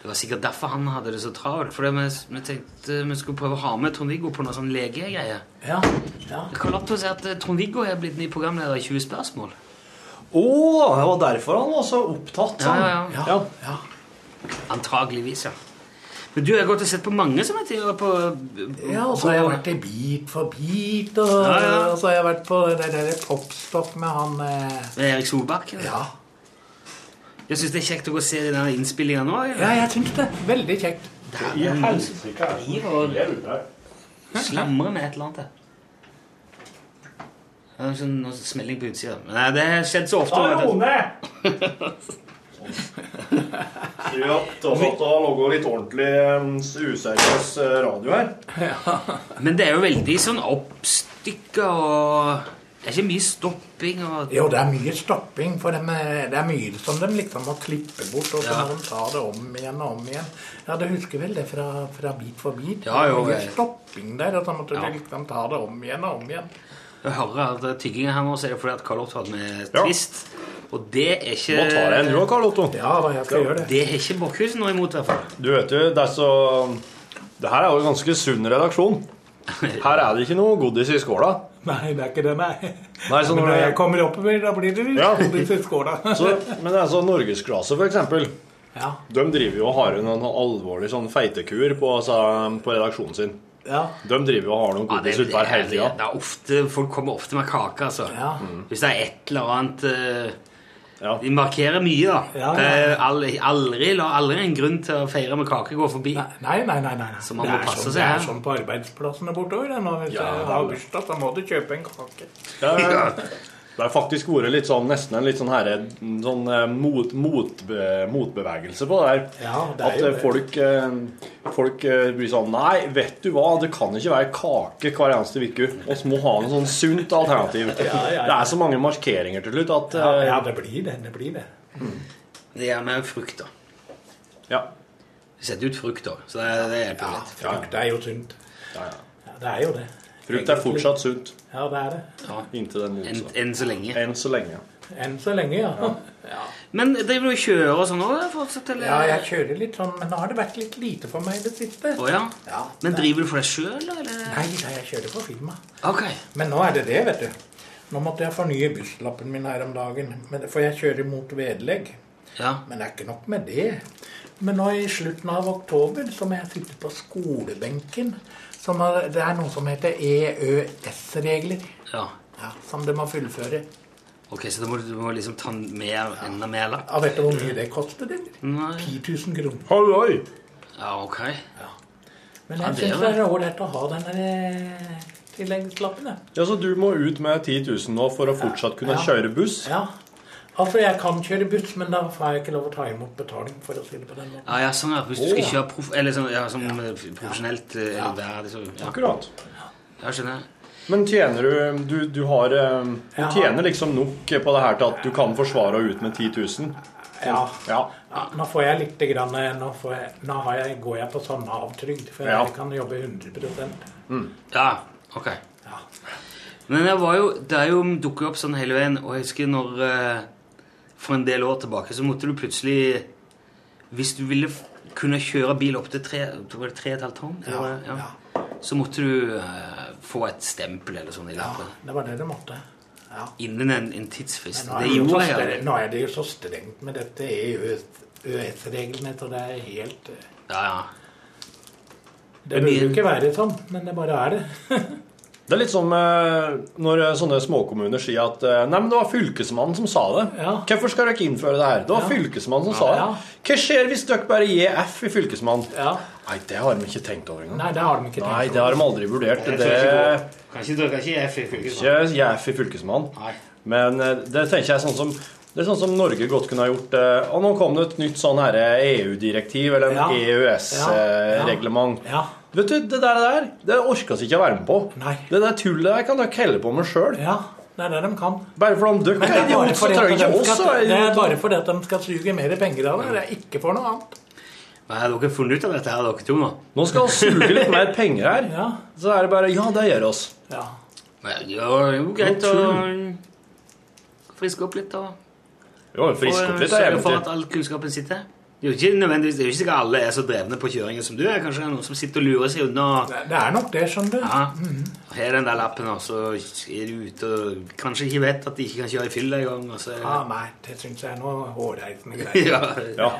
S1: Det var sikkert derfor han hadde det så travelt. For det vi, vi tenkte vi skulle prøve å ha med Trond-Viggo på noe sånn legegreie.
S12: Ja, ja.
S1: Carlotto sier at eh, Trond-Viggo er blitt ny programleder i 20 spørsmål.
S6: Å, det var derfor han var så opptatt.
S1: Ja,
S12: Sånn.
S6: han.
S1: ja, ja. Antageligvis, ja. Men du, jeg har gått og sett på mange som er tidligere på
S12: Ja, og så har jeg vært i Bit for bit, og,
S1: Ja, ja.
S12: og så har jeg vært på det der- der popstopp med han eh,
S1: Med Erik Solbakken?
S12: Ja.
S1: Jeg syns det er kjekt å gå og se de der innspillingene nå.
S12: Ja, jeg syns det. Veldig kjekt.
S1: I helsike Slamrer med et eller annet. jeg. Det er en sånn noe smelling på utsida. Men Nei, det har skjedd så ofte.
S12: Ah,
S1: vet du.
S6: Skulle hatt noe litt ordentlig eh, useriøs radio her.
S1: Men det er jo veldig sånn oppstykka og Det er ikke mye stopping og
S12: Jo, det er mye stopping, for dem, eh, det er mye som de liksom må klippe bort, og sånn. så
S1: Ja.
S12: må de ta det om igjen og om igjen. Ja, du husker vel det fra, fra Bit for bit?
S1: Ja, jo,
S12: det var
S1: jeg-
S12: mye stopping der, og så måtte
S1: Ja.
S12: de liksom ta det om igjen og om igjen.
S1: Jeg hører at det er tygging her nå, så er det fordi at Karl Otto er trist. Og det er ikke
S6: Nå tar jeg en, du òg, Karl Otto.
S12: Ja, da, jeg skal gjøre det.
S1: Det er ikke Borchhus noe imot, i hvert fall.
S6: Du vet jo, det er så Det her er jo en ganske sunn redaksjon. Her er det ikke noe godis i skåla.
S12: Nei, det er ikke det, nei.
S6: Nei, så
S12: Men
S6: når
S12: når jeg
S6: det-
S12: kommer oppover, da blir det litt
S6: Ja.
S12: godis i skåla.
S6: *laughs* Så, men det er så Norgesklasse, for eksempel.
S12: Ja.
S6: De driver jo og har en alvorlig sånn feitekur på, altså, på redaksjonen sin.
S12: Ja.
S6: De driver jo og har noen
S1: Ja, det,
S6: godis
S1: det,
S6: utpå her hele
S1: det,
S6: tida.
S1: er ofte, folk kommer ofte med kake, altså.
S12: Ja.
S1: Hvis det er et eller annet eh, De markerer mye, da.
S12: Ja, ja.
S1: Eh, aldri, aldri, la aldri en grunn til å feire med kake gå forbi.
S12: Nei, nei, nei. nei.
S1: Så man
S12: det,
S1: må
S12: er
S1: passe
S12: sånn, det er
S1: seg.
S12: sånn på arbeidsplassene bortover. det Nå, hvis
S6: Ja,
S12: du
S6: vel.
S12: har bursdag, så må du kjøpe en kake.
S6: Ja, Det har faktisk vært litt sånn, nesten en litt sånn, her, en sånn eh, mot, motbe, motbevegelse på det her.
S12: Ja, det er
S6: At
S12: jo
S6: eh,
S12: det.
S6: folk, eh, folk eh, blir sånn Nei, vet du hva, det kan ikke være kake hver eneste uke. Vi må ha noe sånn sunt alternativ.
S12: Ja, ja, ja.
S6: Det er så mange markeringer til slutt at
S12: Ja,
S6: eh,
S12: ja, det blir det. det blir det.
S1: Det er med frukt, da.
S6: Ja.
S1: Vi setter ut frukt, da. Så det, det hjelper litt.
S12: Frukt er jo sunt. Ja, det er jo det.
S6: Frukt er fortsatt sunt.
S12: Ja, det er det.
S6: Inntil det
S1: Enn
S6: motsatte.
S1: enn så lenge.
S6: Enn så lenge.
S12: Enn så lenge, ja.
S1: Men driver du og kjører og sånn òg fortsatt? Eller?
S12: Ja, jeg kjører litt sånn, men nå har det vært litt lite for meg i det siste.
S1: Å, ja.
S12: Ja,
S1: Men
S12: det-
S1: driver du for deg sjøl, eller?
S12: Nei, nei, jeg kjører for firma.
S1: Ok.
S12: Men nå er det det, vet du. Nå måtte jeg fornye busslappen min her om dagen, men, for jeg kjører mot vedlegg.
S1: Ja.
S12: Men det er ikke nok med det. Men nå i slutten av oktober så må jeg sitte på skolebenken. Som er, det er noe som heter EØS-regler,
S1: ja.
S12: ja, som du må fullføre.
S1: Ok, Så da må du, du må liksom ta mer, enda mer lapp?
S12: Ja, vet du hvor mye det koster? Det?
S1: Nei.
S12: 10 000 kroner.
S6: Halloi!
S1: Ja, ok.
S12: Men
S1: Ja,
S12: jeg
S1: det er
S12: syns
S1: jo-
S12: det er ålreit å ha den der eh, tilleggslappen. jeg.
S6: Ja, så du må ut med 10 000 nå for å fortsatt kunne
S12: Ja.
S6: kjøre buss?
S12: Ja. Altså, jeg kan kjøre buss, men da får jeg ikke lov å ta imot betaling, for å si det på den måten.
S1: Ja, ja, sånn ja. Hvis du skal
S12: Å.
S1: kjøre prof eller sånn, ja, som eh, profesjonelt eh, eller verdig, så ja.
S6: Akkurat.
S1: Ja, skjønner jeg.
S6: Men tjener du Du, du har eh, Du
S12: Ja.
S6: tjener liksom nok på det her til at du kan forsvare å ut med 10 000?
S12: Ja.
S6: Ja.
S12: Ja, nå får jeg litt grann, eh, nå, får jeg, nå har jeg, går jeg på sånn Nav-trygd, for
S6: Ja.
S12: jeg kan jobbe 100
S1: Ja, ok. Men det, var jo, det er jo dukker opp sånn hele veien, og jeg husker når eh, For en del år tilbake så måtte du plutselig Hvis du ville f- kunne kjøre bil opp til 3,5 tonn, eller hva det- ja, så måtte du eh, få et stempel eller sånn i lappen.
S12: Det var det du måtte.
S1: Innen en, en tidsfrist.
S12: Nå er
S1: Det
S12: det jo så
S1: gjorde jeg.
S12: streng- nå er det jo så strengt med dette E EØS-reglene, så det er helt eh,
S1: Ja, ja.
S12: Det burde jo ikke være sånn, men det bare er det.
S6: Det er litt som eh, når sånne småkommuner sier at eh, Nei, men det var fylkesmannen som sa det. Hvorfor skal dere ikke innføre det her? Det var fylkesmannen som sa det.
S12: Ja.
S6: Hva skjer hvis dere bare gir F i fylkesmannen?
S12: Ja.
S6: Nei, det har de ikke tenkt over engang.
S12: Nei, det har de ikke tenkt
S6: Nei, det har de aldri vurdert.
S12: Jeg
S6: Det
S12: tror
S1: Kanskje dere ikke er F i
S6: ikke gi F i fylkesmannen. Men eh, det tenker jeg er sånn som det er sånn som Norge godt kunne ha gjort. eh, Og nå kom det et nytt sånn her, eh, EU-direktiv, eller en
S12: Ja. Ja. Ja.
S6: EØS-reglement. Vet du, Det der, der det orker vi ikke å være med på. Det der tullet der kan dere helle på med sjøl.
S12: Det er det de kan.
S6: Bare for om dere
S12: Men det
S6: er
S12: er bare
S6: idioter, så
S12: fordi
S6: trenger
S12: at
S6: ikke
S12: de
S6: oss å
S12: skal-
S6: være
S12: det er bare
S6: idioter.
S12: fordi at de skal suge mer penger av det. Det er ikke for noe annet.
S1: Hva har dere funnet ut av dette her, dere to nå?
S6: Nå skal vi suge litt mer penger her. Så er det bare Ja, det gjør oss.
S1: Men det var jo greit å friske opp litt og
S6: Jo, frisk
S1: og
S6: opp litt
S12: eh,
S6: er
S1: sørge for at
S6: eventyr.
S1: all kunnskapen sitter. Det er jo ikke nødvendigvis, det er jo ikke sikkert alle er så drevne på kjøringen som du er. Kanskje det er noen som sitter og lurer seg unna.
S12: Det er nok det, skjønner du. Mhm.
S1: Ja. Her er den der lappen, og så er du ute og kanskje ikke vet at de ikke kan kjøre i fylla engang. og så-
S12: Ja, Ah, nei, det syns jeg er noe
S1: *laughs*
S12: hårreisende
S1: Ja.
S12: greier.
S6: Ja.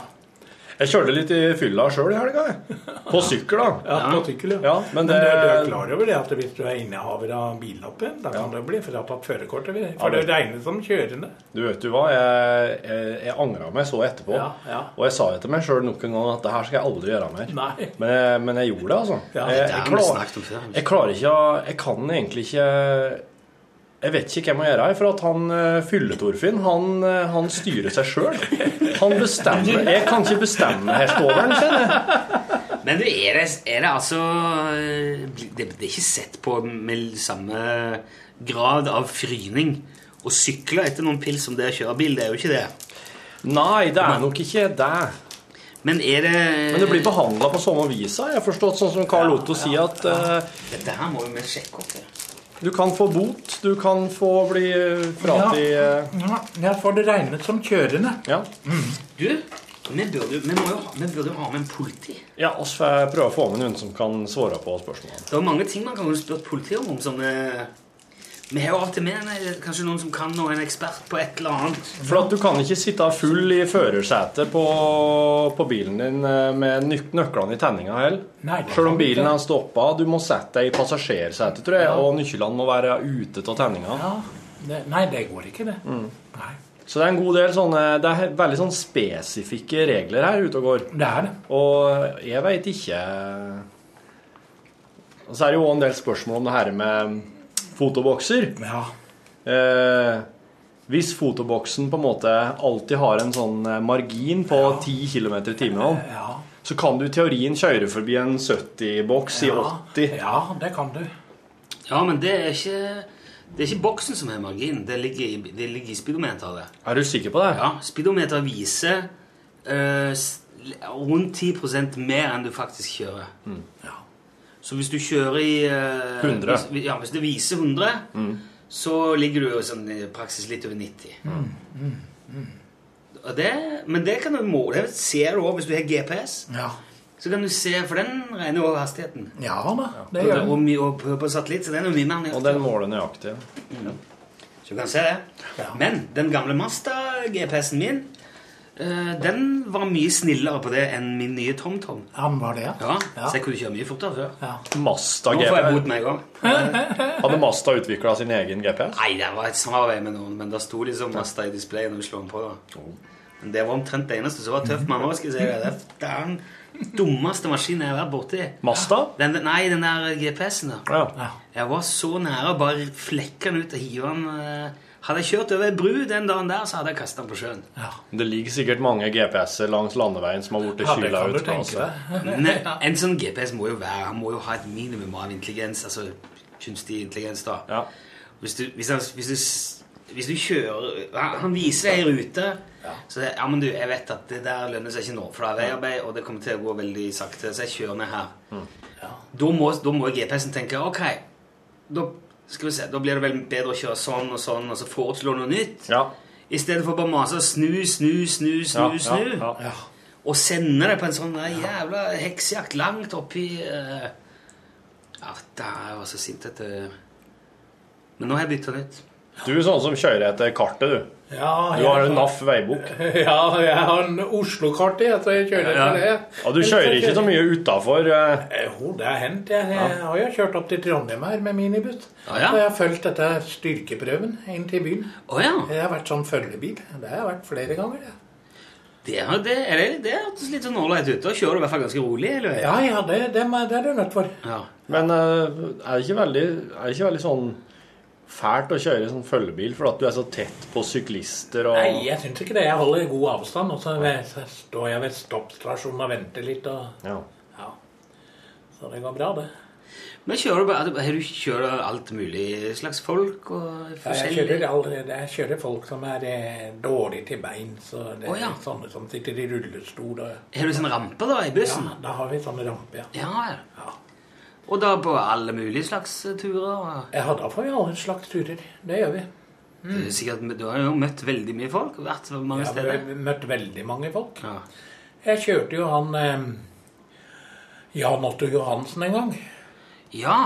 S6: Jeg kjørte litt i fylla sjøl i helga. jeg. På sykkel, da.
S12: Ja, på sykkel, ja. men
S6: men det-
S12: du, du er klar over det at hvis du er innehaver av billoppen, da kan du bli fratatt førerkortet. For
S6: Ja,
S12: det regnes som kjørende.
S6: Du vet du hva, jeg, jeg, jeg angra meg så etterpå.
S12: Ja, ja.
S6: Og jeg sa jo til meg sjøl nok en gang at det her skal jeg aldri gjøre mer.
S12: Nei.
S6: Men, jeg- men jeg gjorde det, altså.
S12: Ja.
S6: jeg,
S12: Det altså.
S6: jeg,
S12: har vi snakket om
S6: klar,
S12: før.
S6: jeg klarer ikke å Jeg kan egentlig ikke Jeg vet ikke hva jeg må gjøre her, for at han eh, Fylle-Torfinn, han, eh, han styrer seg sjøl. Han bestemmer Jeg kan ikke bestemme hestoveren, kjenner jeg.
S1: Men du, er det, er det altså eh, det, det er ikke sett på med samme grad av fryning å sykle etter noen pils som det å kjøre bil. Det er jo ikke det.
S6: Nei, det er nok ikke det.
S1: Men er det
S6: Men det blir behandla på samme vis, har jeg forstått, sånn som Carl Otto sier at eh,
S1: Dette her må jo vi sjekke opp. det.
S6: du kan få bot, du kan få bli eh, frati... eh,
S12: Ja, ja, for det regnes som kjørende.
S6: Ja.
S1: Du, vi, burde, jo- vi, må jo, ha- vi burde jo ha med en politi.
S6: Ja, oss får prøve å få med noen som kan svare på spørsmålene.
S1: Det er jo mange ting man kan jo spørre politiet om. om sånne, vi har jo alltid med en, kanskje noen som kan noe, en ekspert på et eller annet.
S6: For at du kan ikke sitte full i førersetet på, på bilen din eh, med nøk nøklene i tenninga heller.
S12: Nei, det
S6: Selv
S12: kan
S6: om bilen
S12: ikke.
S6: er stoppa. Du må sette deg i passasjersetet, tror jeg, og nøklene må være ute av tenninga.
S12: Det, nei, det går ikke, det.
S6: Mm. Så det er en god del sånne Det er veldig sånn spesifikke regler her ute og går.
S12: Det er det.
S6: Og jeg veit ikke Og så er det jo også en del spørsmål om det her med fotobokser.
S12: Ja.
S6: Eh, hvis fotoboksen på en måte alltid har en sånn margin på 10 km i timen, så kan du i teorien kjøre forbi en 70-boks i 80.
S12: Ja, det kan du.
S1: Ja, men det er ikke, det er ikke boksen som er marginen. Det ligger i, det ligger i speedometeret.
S6: Er du sikker på det?
S1: Ja, speedometeret viser eh, s- rundt 10 mer enn du faktisk kjører.
S6: Mm.
S1: Så hvis du kjører i eh,
S6: 100.
S1: Hvis, ja, hvis det viser 100,
S6: Mm.
S1: så ligger du jo sånn i praksis litt over 90.
S12: Mm,
S1: Og det, men det kan du måle. Det ser du også hvis du har GPS.
S12: Ja.
S1: Så kan du se, for den regner jo hastigheten.
S12: Ja da. Det
S1: Og,
S12: gjør den.
S1: og, my- og på- på satellitt, så den er jo mye mer nøyaktig.
S6: Og den måler nøyaktig.
S1: Så du kan se det. Men den gamle Masta-GPS-en min, eh, den var mye snillere på det enn min nye TomTom.
S12: Han var det,
S1: Ja, Så jeg kunne kjøre mye fortere før.
S6: Masta
S1: Nå får jeg bot
S6: GPS.
S1: med en gang.
S6: Hadde Masta utvikla sin egen GPS?
S1: Nei, det var et samarbeid med noen, men det sto liksom Masta i displayet når du slo den på. da. Men det var omtrent det eneste som var tøft. Mamma skal jeg si det. Det er den dummeste maskinen jeg har vært borti.
S6: Masta?
S1: Den, nei, den der GPS-en, da.
S6: Ja.
S1: Jeg var så nære å bare flekke den ut og hive den. eh. Hadde jeg kjørt over ei bru den dagen der, så hadde jeg kasta den på sjøen.
S6: Det ligger sikkert mange GPS-er langs landeveien som har blitt
S1: Ja, det
S6: kyla
S1: kan du
S6: ut.
S1: tenke
S6: altså.
S1: Nei, en sånn GPS må jo være Han må jo ha et minimum av intelligens, altså kunstig intelligens, da. Hvis, du, hvis, han, hvis, du, s- hvis du kjører Han han viser deg i rute. Så det, ja, men du, jeg vet at det der lønner seg ikke nå, for det er veiarbeid, og det kommer til å gå veldig sakte, så jeg kjører ned her.
S6: Mm.
S1: Da må, da må GPS-en tenke Ok, da, skal vi se, da blir det vel bedre å kjøre sånn og sånn, og så foreslå noe nytt. I stedet for bare mase og snu, snu, snu, snu,
S6: Ja, ja,
S1: snu.
S6: ja.
S1: eh, Og sende det på en sånn der jævla heksejakt langt oppi uh, eh, Ja, da, jeg var så sint etter Men nå har jeg bytta litt.
S6: Du er sånn som kjører etter kartet, du.
S12: Ah, Ja,
S6: Du har en NAF veibok.
S12: Ja, jeg har en Oslo-kart i, så jeg kjører
S6: Ja.
S12: etter det.
S6: Og du kjører ikke så mye eh, utafor.
S12: Jo, det har hendt. Jeg, jeg har jo kjørt opp til Trondheim her med minibuss.
S6: Ja, ja.
S12: Så jeg har fulgt dette styrkeprøven inn til byen. Jeg har vært sånn følgebil. Det har jeg vært flere ganger. jeg.
S1: Det, er- det, er det, det hørtes litt sånn ålreit ut. Da kjører du i hvert fall ganske rolig. Eller?
S12: Ja, ja, det, det, må- det er du nødt for.
S1: Ja.
S6: Men eh, er det ikke veldig, er det ikke veldig sånn fælt å kjøre i sånn følgebil for at du er så tett på syklister og
S12: Nei, jeg syns ikke det. Jeg holder god avstand. Og så ved- så står jeg ved stoppstasjonen og venter litt. Og,
S6: Ja.
S12: ja. Så det går bra, det.
S1: Men kjører du bare Har du kjører alt mulig slags folk og
S12: Ja, jeg,
S1: forskjellig
S12: kjører allerede, jeg kjører folk som er eh, dårlige til bein. Så det er
S1: Å, ja.
S12: Eh, sånne som sitter i rullestol. Og,
S1: Har du sånn rampe da i bussen?
S12: ja, da har vi sånn rampe, ja.
S1: Ja, ja. Og da på alle mulige slags eh, turer? og-
S12: Ja, da får vi alle slags turer. Det gjør vi. Mm.
S1: Du, er sikkert, du har jo møtt veldig mye folk og vært så mange
S12: Jeg har
S1: steder.
S12: mø- møtt veldig mange folk.
S1: Ja.
S12: Jeg kjørte jo han eh, Jan Otto Johansen en gang.
S1: ja.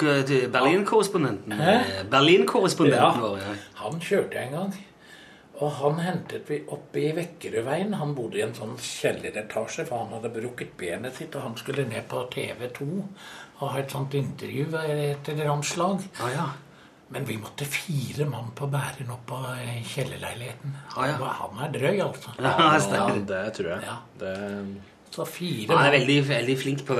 S1: K- til Berlin-korrespondenten
S12: Hæ?
S1: eh, Berlin-korrespondenten
S12: Ja.
S1: vår. Ja.
S12: Han kjørte jeg en gang. Og han hentet vi oppe i Vekkerødveien. Han bodde i en sånn kjelleretasje, for han hadde brukket benet sitt, og han skulle ned på TV 2 og ha et sånt intervju etter et eller annet slag. Men vi måtte fire mann på Bæren opp på eh, kjellerleiligheten. Han, var- han er drøy, altså.
S6: det tror jeg. Det...
S12: Så fire
S1: Han er
S12: mann.
S1: veldig, veldig flink på,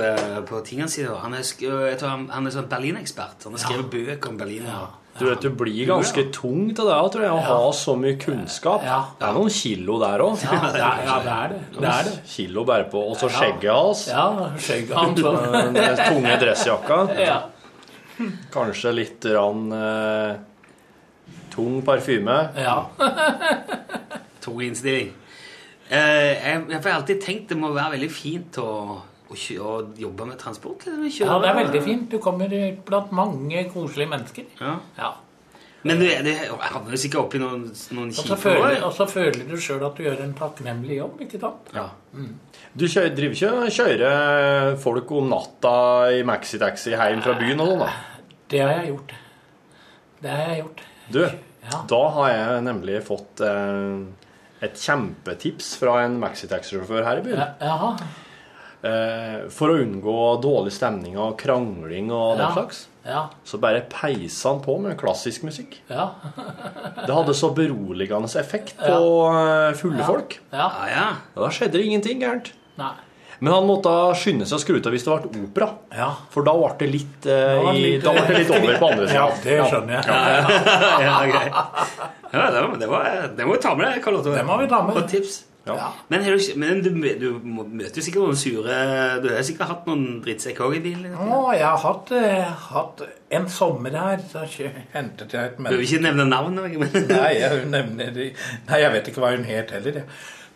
S1: på tingene sine. og Han er, sk- jeg tror han, han er sånn Berlin-ekspert. Han har skrevet bøker om Berlin. og-
S6: Du vet, du blir ganske tung til det òg, tror jeg, å ha så mye kunnskap. Det er noen kilo der òg.
S12: Ja, det er- ja, det er det. Det er det.
S6: Kilo bare på Og så skjegget hans.
S12: Ja, skjegget hans, og-
S6: *laughs* Den tunge dressjakka.
S12: Ja.
S6: Kanskje litt rann, eh, tung parfyme.
S1: Tung innstilling. Eh, jeg, jeg har alltid tenkt det må være veldig fint å, å, kjø, å jobbe med transport. eller kjøre-
S12: Ja, det er veldig fint. Du kommer ut blant mange koselige mennesker.
S1: Ja.
S12: Ja.
S1: Men du, du havner jo sikkert oppi noen, noen
S12: Og så
S1: kjipe
S12: føler,
S1: år.
S12: og så føler du sjøl at du gjør en takknemlig jobb, ikke sant?
S1: Ja.
S6: Du kjører, driver ikke og kjører folk om natta i maxitaxi hjem fra byen og sånn, da?
S12: Det har jeg gjort. Det har jeg gjort.
S6: Du, da har jeg nemlig fått eh, et kjempetips fra en maxitaxi-sjåfør her i byen.
S12: Ja, Jaha.
S6: Eh, for å unngå dårlig stemning og krangling og den
S12: Ja.
S6: slags,
S12: Ja.
S6: så bare peisa han på med klassisk musikk.
S12: Ja.
S6: Det hadde så beroligende effekt på eh, fulle folk.
S12: Ja.
S6: Og da skjedde det ingenting gærent.
S12: Nei.
S6: Men han måtte skynde seg å skru av hvis det ble opera. For da ble det litt, eh,
S12: Da ble det
S6: i,
S12: litt-
S6: da ble det litt over på andre sida.
S12: *laughs* Ja, det skjønner jeg.
S1: Ja,
S12: *laughs*
S1: greit. ja, det, var, det, var, det må vi ta med deg, Karl Otto.
S12: Det må vi ta med.
S1: Og tips. Men, har du, ikke- men du, mø- du må- møter jo sikkert noen sure Du har sikkert hatt noen drittsekker òg i bilen?
S12: Å, jeg har hatt, eh, hatt en sommer her, så kjø- hentet jeg et
S1: Du vil ikke nevne navn? Men...
S12: *laughs*
S1: *laughs*
S12: Nei, jeg nevner de. Nei, jeg vet ikke hva hun het heller. jeg.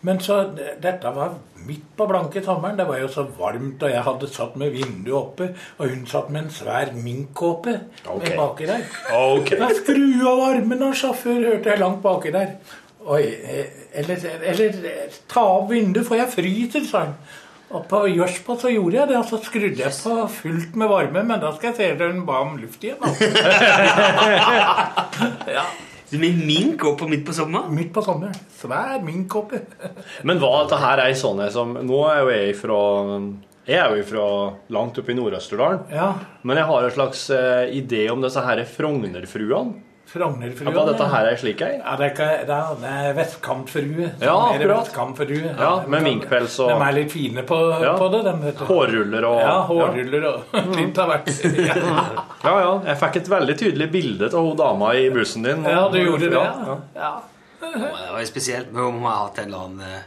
S12: Men så, d- dette var midt på blanke sommeren. Det var jo så varmt, og jeg hadde satt med vinduet oppe. Og hun satt med en svær minkkåpe
S6: Ok.
S12: med baki der.
S6: Ok.
S12: Jeg skru av armen av sjåfør, hørte jeg langt baki der. Oi, eh, eller, eller eh, ta av vinduet, for jeg fryser, sa hun. Og på Jørspå så gjorde jeg det, og så skrudde jeg på fullt med varme. Men da skal jeg se at hun ba om luft igjen.
S6: *laughs*
S1: Du Med mink opp og midt på sommeren?
S12: Midt på sommeren. Svær minkkoppe.
S6: Men hva dette her er sånn jeg som Nå er jo jeg fra Jeg er jo fra langt oppe i Nord-Østerdalen.
S12: *laughs* Ja.
S6: Men jeg har en slags eh, idé om disse her Frognerfruene.
S12: Frognerfruen.
S6: Ja, hva dette her er
S12: ja.
S6: slik ei?
S12: Ja, det er, ikke, det er, det er vestkantfrue. Sånn
S6: Ja,
S12: er det
S6: akkurat.
S12: vestkantfrue.
S6: Ja, med
S12: de-
S6: minkpels og
S12: De er litt fine på,
S6: Ja.
S12: på det, de, vet du.
S6: Hårruller og
S12: Ja, hårruller og *laughs* litt av hvert. Ja,
S6: *laughs* Ja, ja. Jeg fikk et veldig tydelig bilde av hun dama i bussen din.
S12: Ja, du gjorde det,
S6: Ja,
S12: ja. ja.
S1: Det var jo spesielt med om man har hatt en eller annen eh,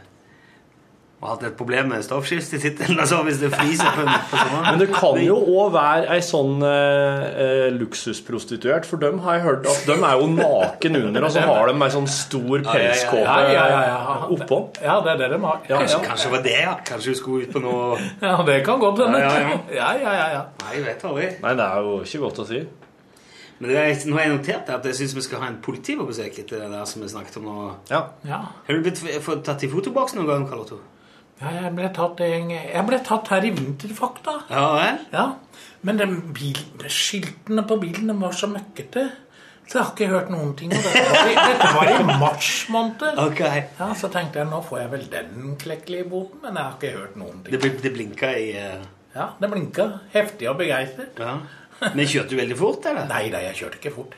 S1: har hatt et problem med stoffskiftet sitt eller noe sånt, hvis det fryser på, på sommeren.
S6: Men det kan jo òg være ei sånn eh, eh, luksusprostituert, for dem har jeg hørt at dem er jo naken under, og så har de ei sånn stor pelskåpe
S12: Ja, ja, ja, ja.
S6: oppå.
S12: Ja, det er det de har. Ja,
S1: Kanskje, kanskje det var det, ja. Kanskje hun skulle ut på noe
S12: Ja, det kan godt hende.
S1: Ja, ja,
S12: *laughs* Ja, ja, ja. ja.
S1: Nei, jeg vet aldri.
S6: Nei, det er jo ikke godt å si.
S1: Men det er, nå har jeg notert at jeg syns vi skal ha en politi på besøk etter det der som vi snakket om nå.
S6: Ja.
S12: Ja.
S1: Har du blitt f- fått tatt i fotoboksen noen gang, Karl Otto?
S12: Ja, jeg ble tatt, en, jeg ble tatt her i vinterfakta.
S1: Ja vel?
S12: Ja. Men den bil, skiltene på bilene var så møkkete. Så jeg har ikke hørt noen ting om dette. var i- Dette var i mars måned.
S13: Ok.
S12: Ja, så tenkte jeg nå får jeg vel den klekkelige boten, men jeg har ikke hørt noen ting.
S13: Det, bl- det blinka i eh,
S12: Ja, det blinka. Heftig og begeistret.
S13: Ja. Men kjørte du veldig fort, eller?
S12: Nei da, jeg kjørte ikke fort.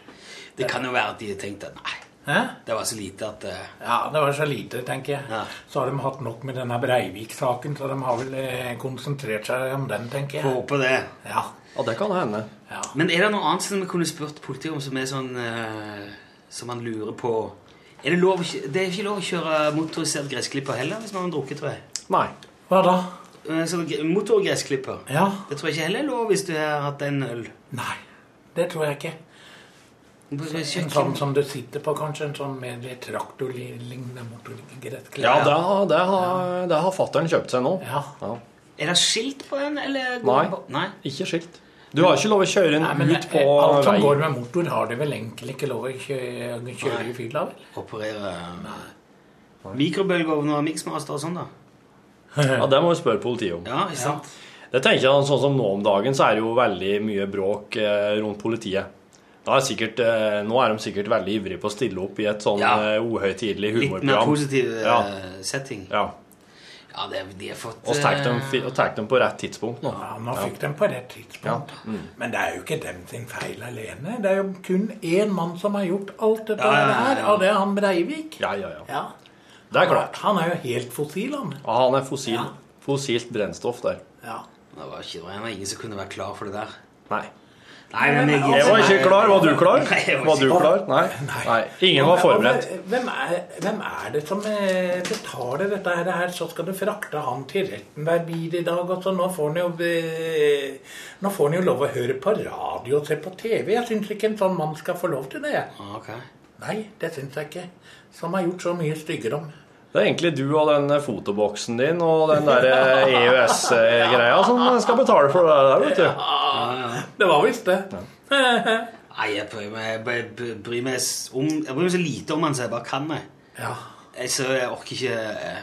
S13: Det kan jo være at de tenkte nei,
S12: Hæ?
S13: det var så lite at eh,
S12: Ja, det var så lite, tenker jeg. Så har de hatt nok med denne Breivik-saken, så de har vel eh, konsentrert seg om den, tenker jeg.
S13: Får håpe det.
S12: Ja.
S6: Ja, det kan hende.
S1: Men er det noe annet som vi kunne spurt politiet om, som er sånn eh, Som man lurer på er det, lov, å kjø- det er ikke lov å kjøre motorisert gressklipper heller hvis man har drukket, tror jeg.
S6: Nei.
S12: Hva da?
S1: Sånn gre- Motorgressklipper.
S12: Ja.
S1: Det tror jeg ikke heller er lov hvis du har hatt en øl.
S12: Nei, det tror jeg ikke. En sånn som du sitter på, kanskje? En sånn med litt traktorlignende motorgressklær?
S6: Ja, det har, det har, det har fatteren kjøpt seg nå. Ja.
S1: Er det skilt på den, eller går
S6: Nei.
S1: den på- Nei.
S6: Ikke skilt. Du har ikke lov å kjøre den
S12: Nei, men eh,
S6: ut på
S12: Alt som
S6: veien.
S12: går med motor, har de vel egentlig ikke lov å kjøre, kjøre i fylla, vel?
S1: Operere mikrobølgeovner og miksmaster og sånn, da?
S6: Ja, det må vi spørre politiet om.
S1: Ja, ikke sant?
S6: Det tenker jeg sånn som nå om dagen, så er det jo veldig mye bråk eh, rundt politiet. Da er sikkert, eh, nå er de sikkert veldig ivrige på å stille opp i et sånn eh, uhøytidelig
S1: Litt mer
S6: humorprogram.
S1: positiv eh,
S6: ja.
S1: setting.
S6: Ja.
S1: Ja, det, de har fått
S6: Og tar dem,
S1: eh,
S6: fi- og tek dem på rett tidspunkt nå.
S12: Ja, nå fikk de på rett tidspunkt.
S6: mm.
S12: Men det er jo ikke dem sin feil alene. Det er jo kun én mann som har gjort alt dette
S6: Ja, ja, ja,
S12: her,
S6: ja.
S12: og det er han Breivik.
S6: Ja, ja, ja.
S12: Ja.
S6: Det er klart.
S12: Han er jo helt fossil, han.
S6: Ja, han er fossil. Fossilt brennstoff der.
S12: Ja.
S1: Det var ikke det var ingen som kunne være klar for det der.
S6: Nei.
S1: Nei, men jeg,
S6: Jeg var ikke klar. Var du klar?
S1: Nei, jeg
S6: Var du
S1: ikke
S6: klar? Nei. Nei. Ingen var forberedt.
S12: Hvem er, hvem er det som eh, betaler dette her, her? Så skal du frakte han til retten hver bil i dag. Og så nå får han jo eh, Nå får han jo lov å høre på radio og se på TV. Jeg syns ikke en sånn mann skal få lov til det.
S1: Ah, ok.
S12: Nei, det syns jeg ikke. Som har gjort så mye styggedom.
S6: Det er egentlig du og den eh, fotoboksen din og den der eh, E EØS-greia eh, som skal betale for det der, vet du.
S12: Det var visst det.
S1: Nei, jeg bryr meg, jeg bryr- bryr- bryr meg s- om, jeg bryr meg så lite om han som jeg bare kan. Jeg,
S12: *laughs* Ja.
S1: jeg, så jeg orker ikke eh,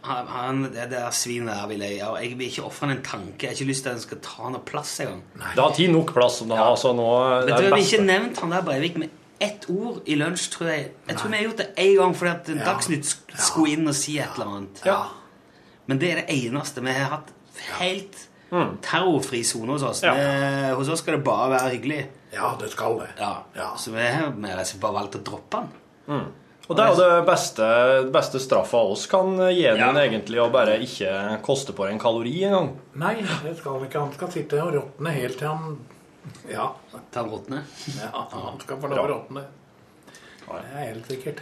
S1: han, han, Det der svinet der vil jeg og Jeg vil ikke ofre han en tanke. Jeg har ikke lyst til at han skal ta noe plass engang.
S6: Det har tid nok plass som det har, så nå er
S1: Vet du, jeg
S6: det er det
S1: vil ikke
S6: beste.
S1: nevnt han der Breivik med ett ord i lunsj, tror jeg. Jeg tror vi har gjort det én gang fordi at Dagsnytt sk- skulle inn og si et eller annet. Men det er det eneste. Vi har hatt helt
S6: Mm.
S1: terrorfri sone hos oss. Vi- hos oss skal det bare være hyggelig.
S12: Ja, det skal det.
S1: Ja. Så vi har vi har rett og slett bare valgt å droppe han.
S6: Mm. Og det er jo det beste, beste straffa oss kan gi den, egentlig, å bare ikke koste på en kalori engang.
S12: Nei, det skal han ikke. Han skal sitte og råtne helt til han Ja.
S1: Til han råtner?
S12: Ja, han skal få lov å
S1: Bra.
S12: råtne. Det er helt sikkert.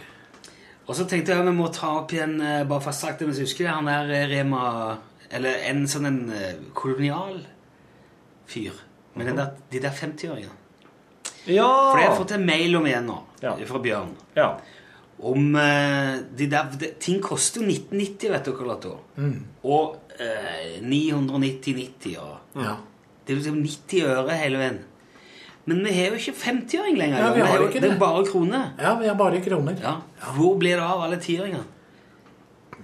S1: Og så tenkte jeg vi må ta opp igjen eh, bare for å ha sagt det mens jeg husker det, han der eh, Rema Eller en sånn en eh, kolonial fyr. Med
S12: Mhm.
S1: den der, de der 50-åringene.
S6: Ja!
S1: For jeg har fått en mail om igjen nå, fra Bjørn. Om eh, de der de, Ting koster jo 1990, vet dere, Lato.
S12: Mm.
S1: Og eh, 990-90 og
S12: Ja.
S1: Det er liksom 90 øre hele veien. Men vi har jo ikke 50-åring lenger.
S12: Ja, vi
S1: Jon.
S12: har
S1: er jo- det
S12: ikke det.
S1: er bare kroner.
S12: Ja, vi har bare kroner.
S1: Ja. Hvor blir det av alle tiåringene?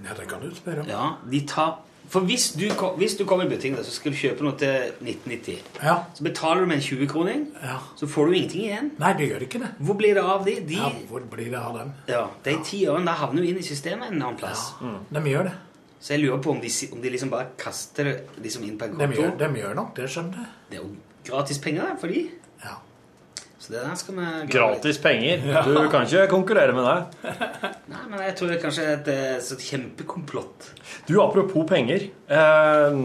S12: Ja, det kan du spørre om.
S1: Ja, de tar For hvis du, kom- hvis du kommer i butikken der, så skal du kjøpe noe til 1990,
S12: Ja.
S1: så betaler du med en 20-kroning, så får du ingenting igjen.
S12: Nei, det gjør ikke det.
S1: Hvor blir det av de? de
S12: Ja, hvor blir det av dem?
S1: Ja, De ti årene der havner jo inn i systemet en annen plass.
S12: De gjør det.
S1: Så jeg lurer på om de, si- om de liksom bare kaster det liksom inn på en
S12: De
S1: konto.
S12: gjør, de gjør nok det, skjønner du.
S1: Det er jo gratis penger da, for de. Så det der skal vi
S6: Gratis penger. Du kan ikke konkurrere med det.
S1: Nei, men jeg tror det er kanskje er et, eh, sånt kjempekomplott.
S6: Du, apropos penger. Eh,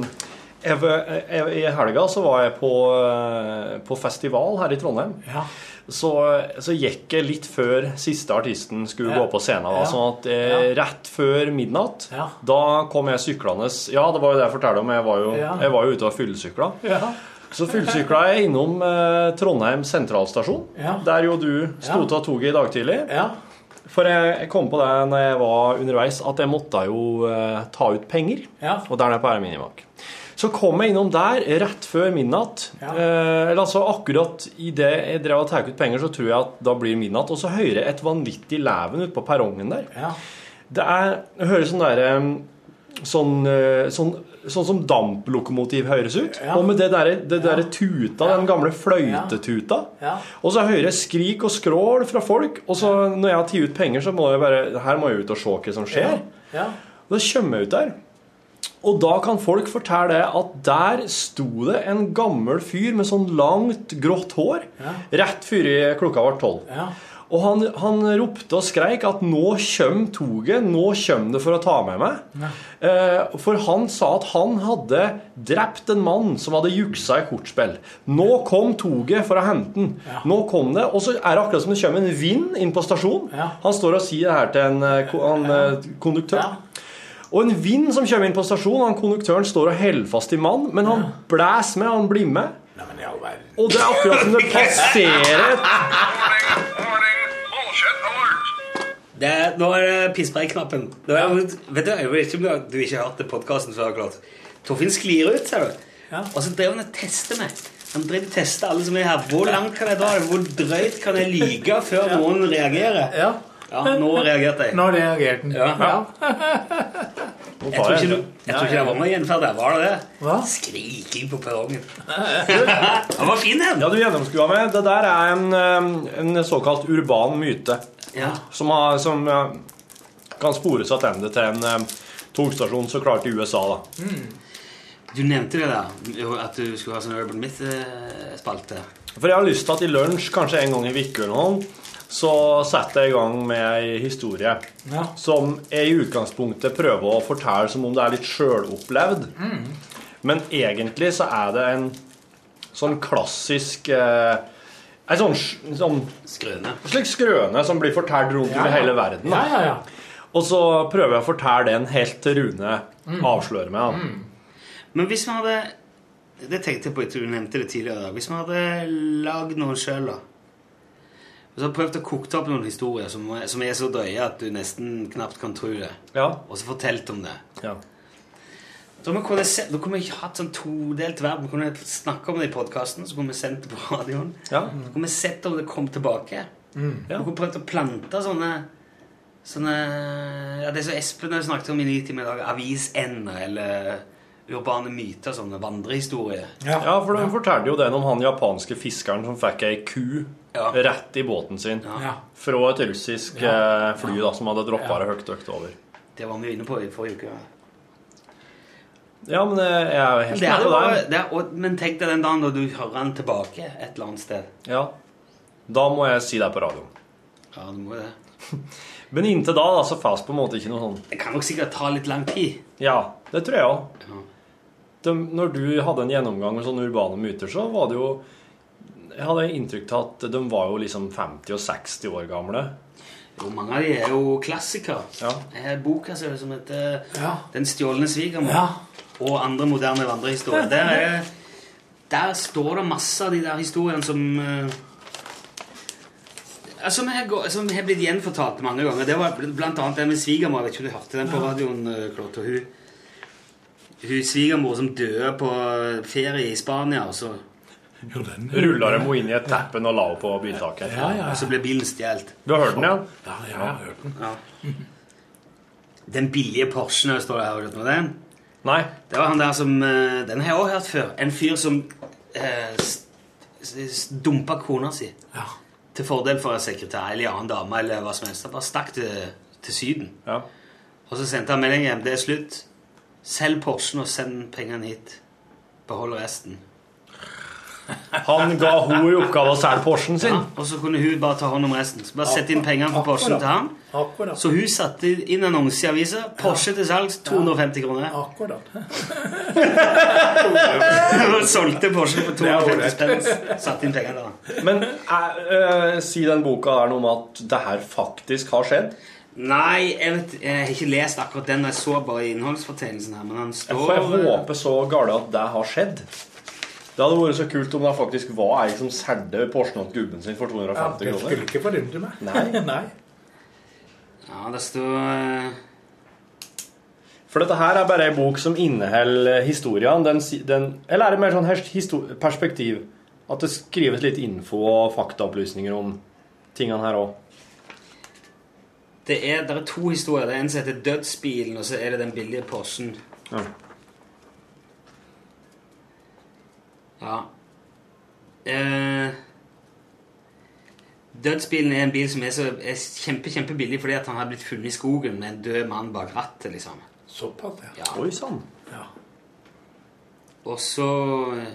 S6: jeg, jeg, I helga så var jeg på, eh, på festival her i Trondheim. Så, så gikk jeg litt før siste artisten skulle
S12: Ja.
S6: gå på scenen. Da,
S12: Ja.
S6: Sånn at eh, rett før midnatt, da kom jeg syklende Ja, det var jo det jeg fortalte om. Jeg var jo,
S12: Ja.
S6: jeg var jo ute og fyllesykla.
S12: Ja.
S6: Så fyllesykla jeg innom eh, Trondheim sentralstasjon,
S12: Ja.
S6: der jo du sto
S12: Ja.
S6: av toget i dag tidlig. For jeg, jeg kom på det når jeg var underveis, at jeg måtte jo eh, ta ut penger. Og der nede på Erminibank. Så kom jeg innom der rett før midnatt. Eh, eller altså akkurat idet jeg drev og tok ut penger, så tror jeg at da blir midnatt. Og så hører jeg et vanvittig leven ute på perrongen der. Det er, jeg hører sånn derre sånn, eh, sånn, sånn som damplokomotiv høres ut.
S12: Ja.
S6: Og med det derre det derre tuta, den gamle fløytetuta.
S12: Ja.
S6: Og så hører jeg skrik og skrål fra folk, og så når jeg har tatt ut penger, så må jeg bare Her må jeg ut og se hva som skjer.
S12: Ja.
S6: Og Da kommer jeg ut der. Og da kan folk fortelle det at der sto det en gammel fyr med sånn langt, grått hår
S12: Ja.
S6: rett før klokka var tolv.
S12: Ja.
S6: Og han, han ropte og skreik at 'nå kjem toget, nå kjem det for å ta med meg'. Eh, for han sa at han hadde drept en mann som hadde juksa i kortspill. Nå kom toget for å hente den. Nå kom det, Og så er det akkurat som det kommer en vind inn på stasjonen. Han står og sier det her til en, eh, ko- han, eh, konduktør. Og en vind som kommer inn på stasjonen, han konduktøren står og holder fast i mannen, men han blæs med, han blir med. Og det er akkurat som
S1: *laughs*
S6: det passerer et
S1: Det, er- nå er det pisspreikknappen. Nå er- Vet du, jeg vet ikke om du, har- du ikke har hørt podkasten før, klart. Torfinn sklir ut, ser du. Og så drev han og testet meg. Han drev og testet alle som er her. Hvor langt kan jeg dra? Hvor drøyt kan jeg lyge før noen reagerer? Ja. nå reagerte jeg.
S12: Nå reagerte han.
S1: Ja. Jeg tror ikke, du- jeg tror ikke det var noe gjenferd der. Var det det?
S12: Hva?
S1: Skriking på perrongen.
S6: Han
S1: var fin, den.
S6: Ja, du gjennomskua meg. Det der er en, eh, en såkalt urban myte.
S1: Ja.
S6: Som, har, som eh, kan spores tilbake til en eh, togstasjon så klart i USA, da.
S1: Du nevnte det der, jo, at du skulle ha sånn Urban eh, Myth-spalte.
S6: For jeg har lyst til at i lunsj, kanskje en gang i uka eller noe, så setter jeg i gang med ei historie
S12: Ja.
S6: som jeg i utgangspunktet prøver å fortelle som om det er litt sjølopplevd.
S12: Mm.
S6: Men egentlig så er det en sånn klassisk eh, En sånn, sj- sånn
S1: Skrøne.
S6: Slik skrøne som blir fortalt rundt
S12: Ja,
S6: over
S12: ja.
S6: hele verden. da.
S12: Ja, ja, ja.
S6: Og så prøver jeg å fortelle den helt til Rune
S1: Mm.
S6: avslører meg. da.
S1: Men hvis man hadde Det tenkte jeg på etter du nevnte det tidligere. i dag. Hvis man hadde lagd noen sjøl, da Og så prøvd å koke opp noen historier som, som er så drøye at du nesten knapt kan tro det, og så fortalt om det Da må vi kunne se, da kunne vi hatt sånn todelt verden. Vi kunne snakke om det i podkasten, så kunne vi sendt det på radioen. Så kunne vi sett om det kom tilbake.
S12: Mm.
S1: Du kunne prøvd å plante sånne Sånne ja, Det som Espen har snakket om i Nitimen i dag, avisender eller urbane myter, sånne vandrehistorier.
S6: Ja, for de fortalte jo den om han japanske fiskeren som fikk ei ku rett i båten sin
S1: Ja.
S6: fra et russisk eh, fly da, som hadde droppa det høyt økt over.
S1: Det var vi inne på i forrige uke.
S6: Ja, men eh, jeg er jo
S1: Men Det er
S6: helt
S1: jo
S6: med på
S1: bare,
S6: det.
S1: det er, og, men tenk deg den dagen da du hører den tilbake et eller annet sted.
S6: Ja. Da må jeg si det på radioen.
S1: Ja, du må det.
S6: Men inntil da da, så fas på en måte ikke noe sånn
S1: Det kan nok sikkert ta litt lang tid.
S6: Ja, det tror jeg òg. Når du hadde en gjennomgang med sånne urbane myter, så var det jo Jeg hadde inntrykk av at de var jo liksom 50 og 60 år gamle.
S1: Jo, mange av de er jo klassikere. Her er boka ser det som heter Den stjålne svigermor og andre moderne vandrehistorier. Der, er, der står det masse av de der historiene som eh, ja, som har gå- som har blitt gjenfortalt mange ganger. Det var bl- blant annet den med svigermor. Jeg vet ikke om du hørte den på
S12: Ja.
S1: radioen, eh, Klott, og hun, hun svigermor som døde på ferie i Spania, og så
S6: Rulla dem jo inn i et teppen og la henne på biltaket.
S1: Ja, ja. Og så ble bilen stjålet.
S6: Du har hørt den, ja?
S1: Ja, jeg har hørt den. *laughs* Ja. Den billige Porschen her står det her. Vet du hva det er?
S6: Nei.
S1: Det var han der som eh, Den har jeg også hørt før. En fyr som eh, s- s- dumpa kona si til fordel for en sekretær eller en annen dame eller hva som helst. Han bare stakk til, til Syden. Og så sendte han melding hjem. Det er slutt. Selg Porschen og send pengene hit. Behold resten.
S6: Han ga henne i oppgave å selge Porschen sin.
S1: Og så kunne hun bare ta hånd om resten. Så bare sette inn pengene for
S12: Akkurat.
S1: Porschen til han.
S12: Akkurat.
S1: Så hun satte inn annonse i avisa. Porsche til salgs 250 kroner. *laughs*
S12: Akkurat.
S1: Hun solgte Porsche for 250 spenn. Satte inn pengene da.
S6: Men eh, eh, si den boka der noe om at det her faktisk har skjedd.
S1: Nei, jeg, vet, jeg har ikke lest akkurat den. Jeg så bare innholdsfortegnelsen her. Men han
S6: Jeg
S1: står eh,
S6: får jeg håpe så gale at det har skjedd. Det hadde vært så kult om det faktisk var ei som solgte Porschen til gubben sin for
S12: Ja,
S6: 250
S12: det skulle
S6: kroner.
S12: ikke forundre meg.
S6: Nei.
S12: *laughs*
S1: Ja, det står eh,
S6: For dette her er bare ei bok som inneholder eh, historien. Den, si- den, eller er det mer sånn hers- histo- perspektiv? At det skrives litt info og faktaopplysninger om tingene her òg?
S1: Det er, der er to historier. Det er En som heter Dødsbilen, og så er det den billige Porschen.
S6: Ja.
S1: Ja. Eh, dødsbilen er en bil som er, så, er kjempe, kjempebillig fordi at han har blitt funnet i skogen med en død mann bak rattet. liksom.
S12: Såpass, ja.
S6: Oi sann.
S1: Og så eh,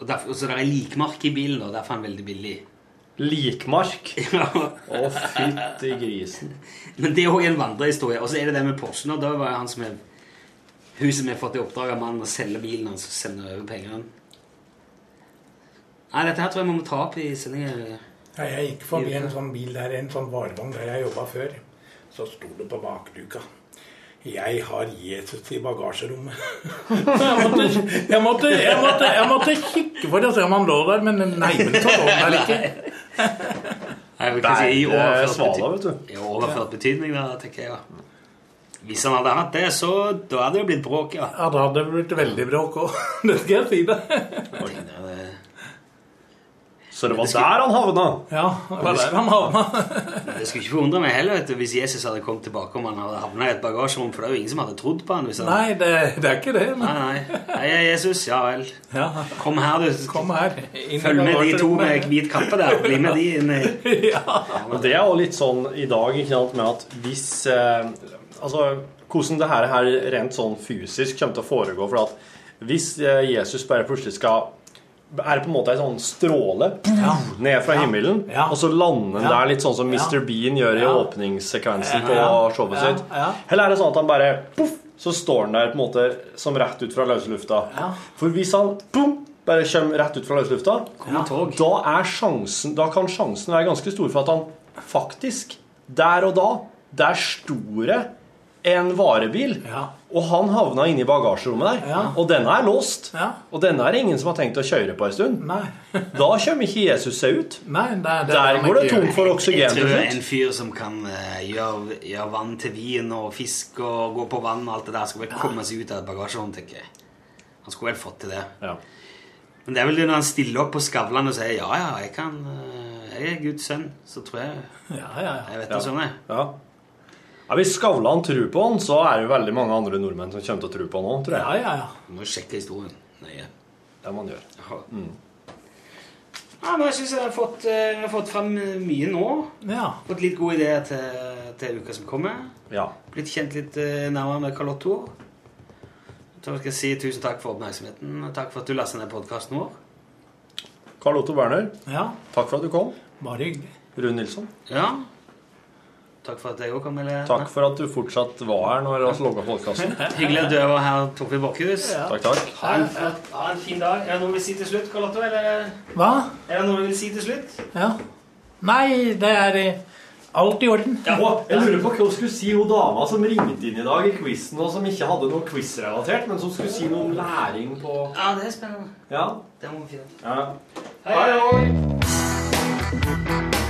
S1: og, derf- og så der er likmark i bilen, og derfor er han veldig billig. *laughs*
S6: Likmark?
S1: Ja.
S6: Å, fytti *laughs* grisen.
S1: Men det er òg en vandrehistorie. Og så er det det med Porschen. Og da var det han som er hun som har fått i oppdrag av mannen å selge bilen hans og sende over pengene. Nei, dette her tror jeg vi må ta opp i sendingen.
S12: Ja, jeg gikk forbi en sånn bil der, en sånn varevogn der jeg jobba før. Så sto det på bakluka. Jeg har Jesus i bagasjerommet. *laughs* Jeg måtte, jeg, måtte, jeg, måtte, jeg måtte kikke for å se om han lå der, men nei, men så lå han der ikke.
S1: Nei, jeg vil ikke si i
S12: Det er
S1: overført,
S12: Svala,
S1: bety- I overført betydning, da, tenker jeg. da. Hvis han hadde hatt det, så da hadde det blitt bråk, ja.
S12: Ja, da hadde det blitt veldig bråk òg. *laughs* Det skal jeg si deg.
S6: Så det var der han havna?
S12: Ja, det var der han havna.
S1: Det skulle ikke forundre meg heller vet du, hvis Jesus hadde kommet tilbake om han hadde havna i et bagasjerom, for det er jo ingen som hadde trodd på han. Hvis han...
S12: *laughs* Nei, det, det er ikke det.
S1: Nei,
S12: Men.
S1: nei. Nei, jeg er Jesus, ja vel.
S12: Ja.
S1: Kom her, du.
S12: Kom her. Inn i
S1: Følg med de to med
S12: bagasjerommet.
S1: hvit kappe der. Bli med de inn
S12: *laughs*
S1: i
S6: Og det er jo litt sånn i dag ikke sant, med at hvis eh, Altså hvordan det her, her rent sånn fysisk kommer til å foregå. For at hvis eh, Jesus bare plutselig skal er det på en måte en sånn stråle ned fra himmelen, og så lander den
S12: Ja.
S6: der litt sånn som Mr.
S12: Ja.
S6: Bean gjør i
S12: Ja.
S6: åpningssekvensen på
S12: Ja.
S6: showet
S12: Ja.
S6: sitt?
S12: Ja.
S6: Eller er det sånn at han bare poff, så står han der på en måte som rett ut fra løse lufta?
S12: Ja.
S6: For hvis han boom, bare kommer rett ut fra løse lufta, da, er sjansen, da kan sjansen være ganske stor for at han faktisk, der og da, der store en varebil, og han havna inne i bagasjerommet der. Og denne er låst. Og denne er det ingen som har tenkt å kjøre på en stund. Da kommer ikke Jesus seg ut.
S12: Nei, det, det,
S6: Der går det tomt for oksygen
S1: Jeg
S6: til
S1: tror
S6: slutt.
S1: en fyr som kan eh, gjøre, gjøre vann til vin og fisk og gå på vann og alt det der, skal vel komme seg ut av et bagasjerom, tenker jeg. Han skulle vel fått til det. Men det er vel det når han stiller opp på Skavlan og sier ja, ja, jeg kan eh, Jeg er Guds sønn, så tror jeg Jeg vet da sånn, jeg.
S6: Ja. Ja, Hvis Skavlan tror på han, så er det jo veldig mange andre nordmenn som kommer til å tro på han òg, tror jeg.
S12: Ja, ja, ja.
S1: Du må jo sjekke historien nøye.
S6: Det må han gjøre. Mm.
S1: Ja, men jeg syns jeg har fått, eh, jeg har fått frem mye nå. Fått litt gode ideer til, til uka som kommer.
S6: Ja.
S1: Blitt kjent litt eh, nærmere med Carlotto. Så skal jeg si tusen takk for oppmerksomheten, og takk for at du leste ned podkasten vår.
S6: Karl Otto Berner,
S12: Ja.
S6: takk for at du kom.
S12: Bare hyggelig.
S6: Rune Nilsson,
S1: Ja. Takk for at jeg òg kom. Eller?
S6: takk for at du fortsatt var her når vi logga podkasten.
S1: Hyggelig at du var her, Torfinn Borchhus.
S6: Takk, takk.
S1: Ha en, ha en fin dag. Er det noe du vil si til slutt, Carlotto? Eller
S12: Hva?
S1: er det noe du vil si til slutt?
S12: Ja. Nei, det er eh, alt i orden.
S6: Og jeg lurer på hva hun skulle si hun dama som ringte inn i dag i quizen, og som ikke hadde noe quiz-relatert, men som skulle si noe om læring på
S1: Ja, det er spennende.
S6: Ja.
S1: Det må vi finne ut.
S6: ja.
S1: Hei, hei.
S6: hei.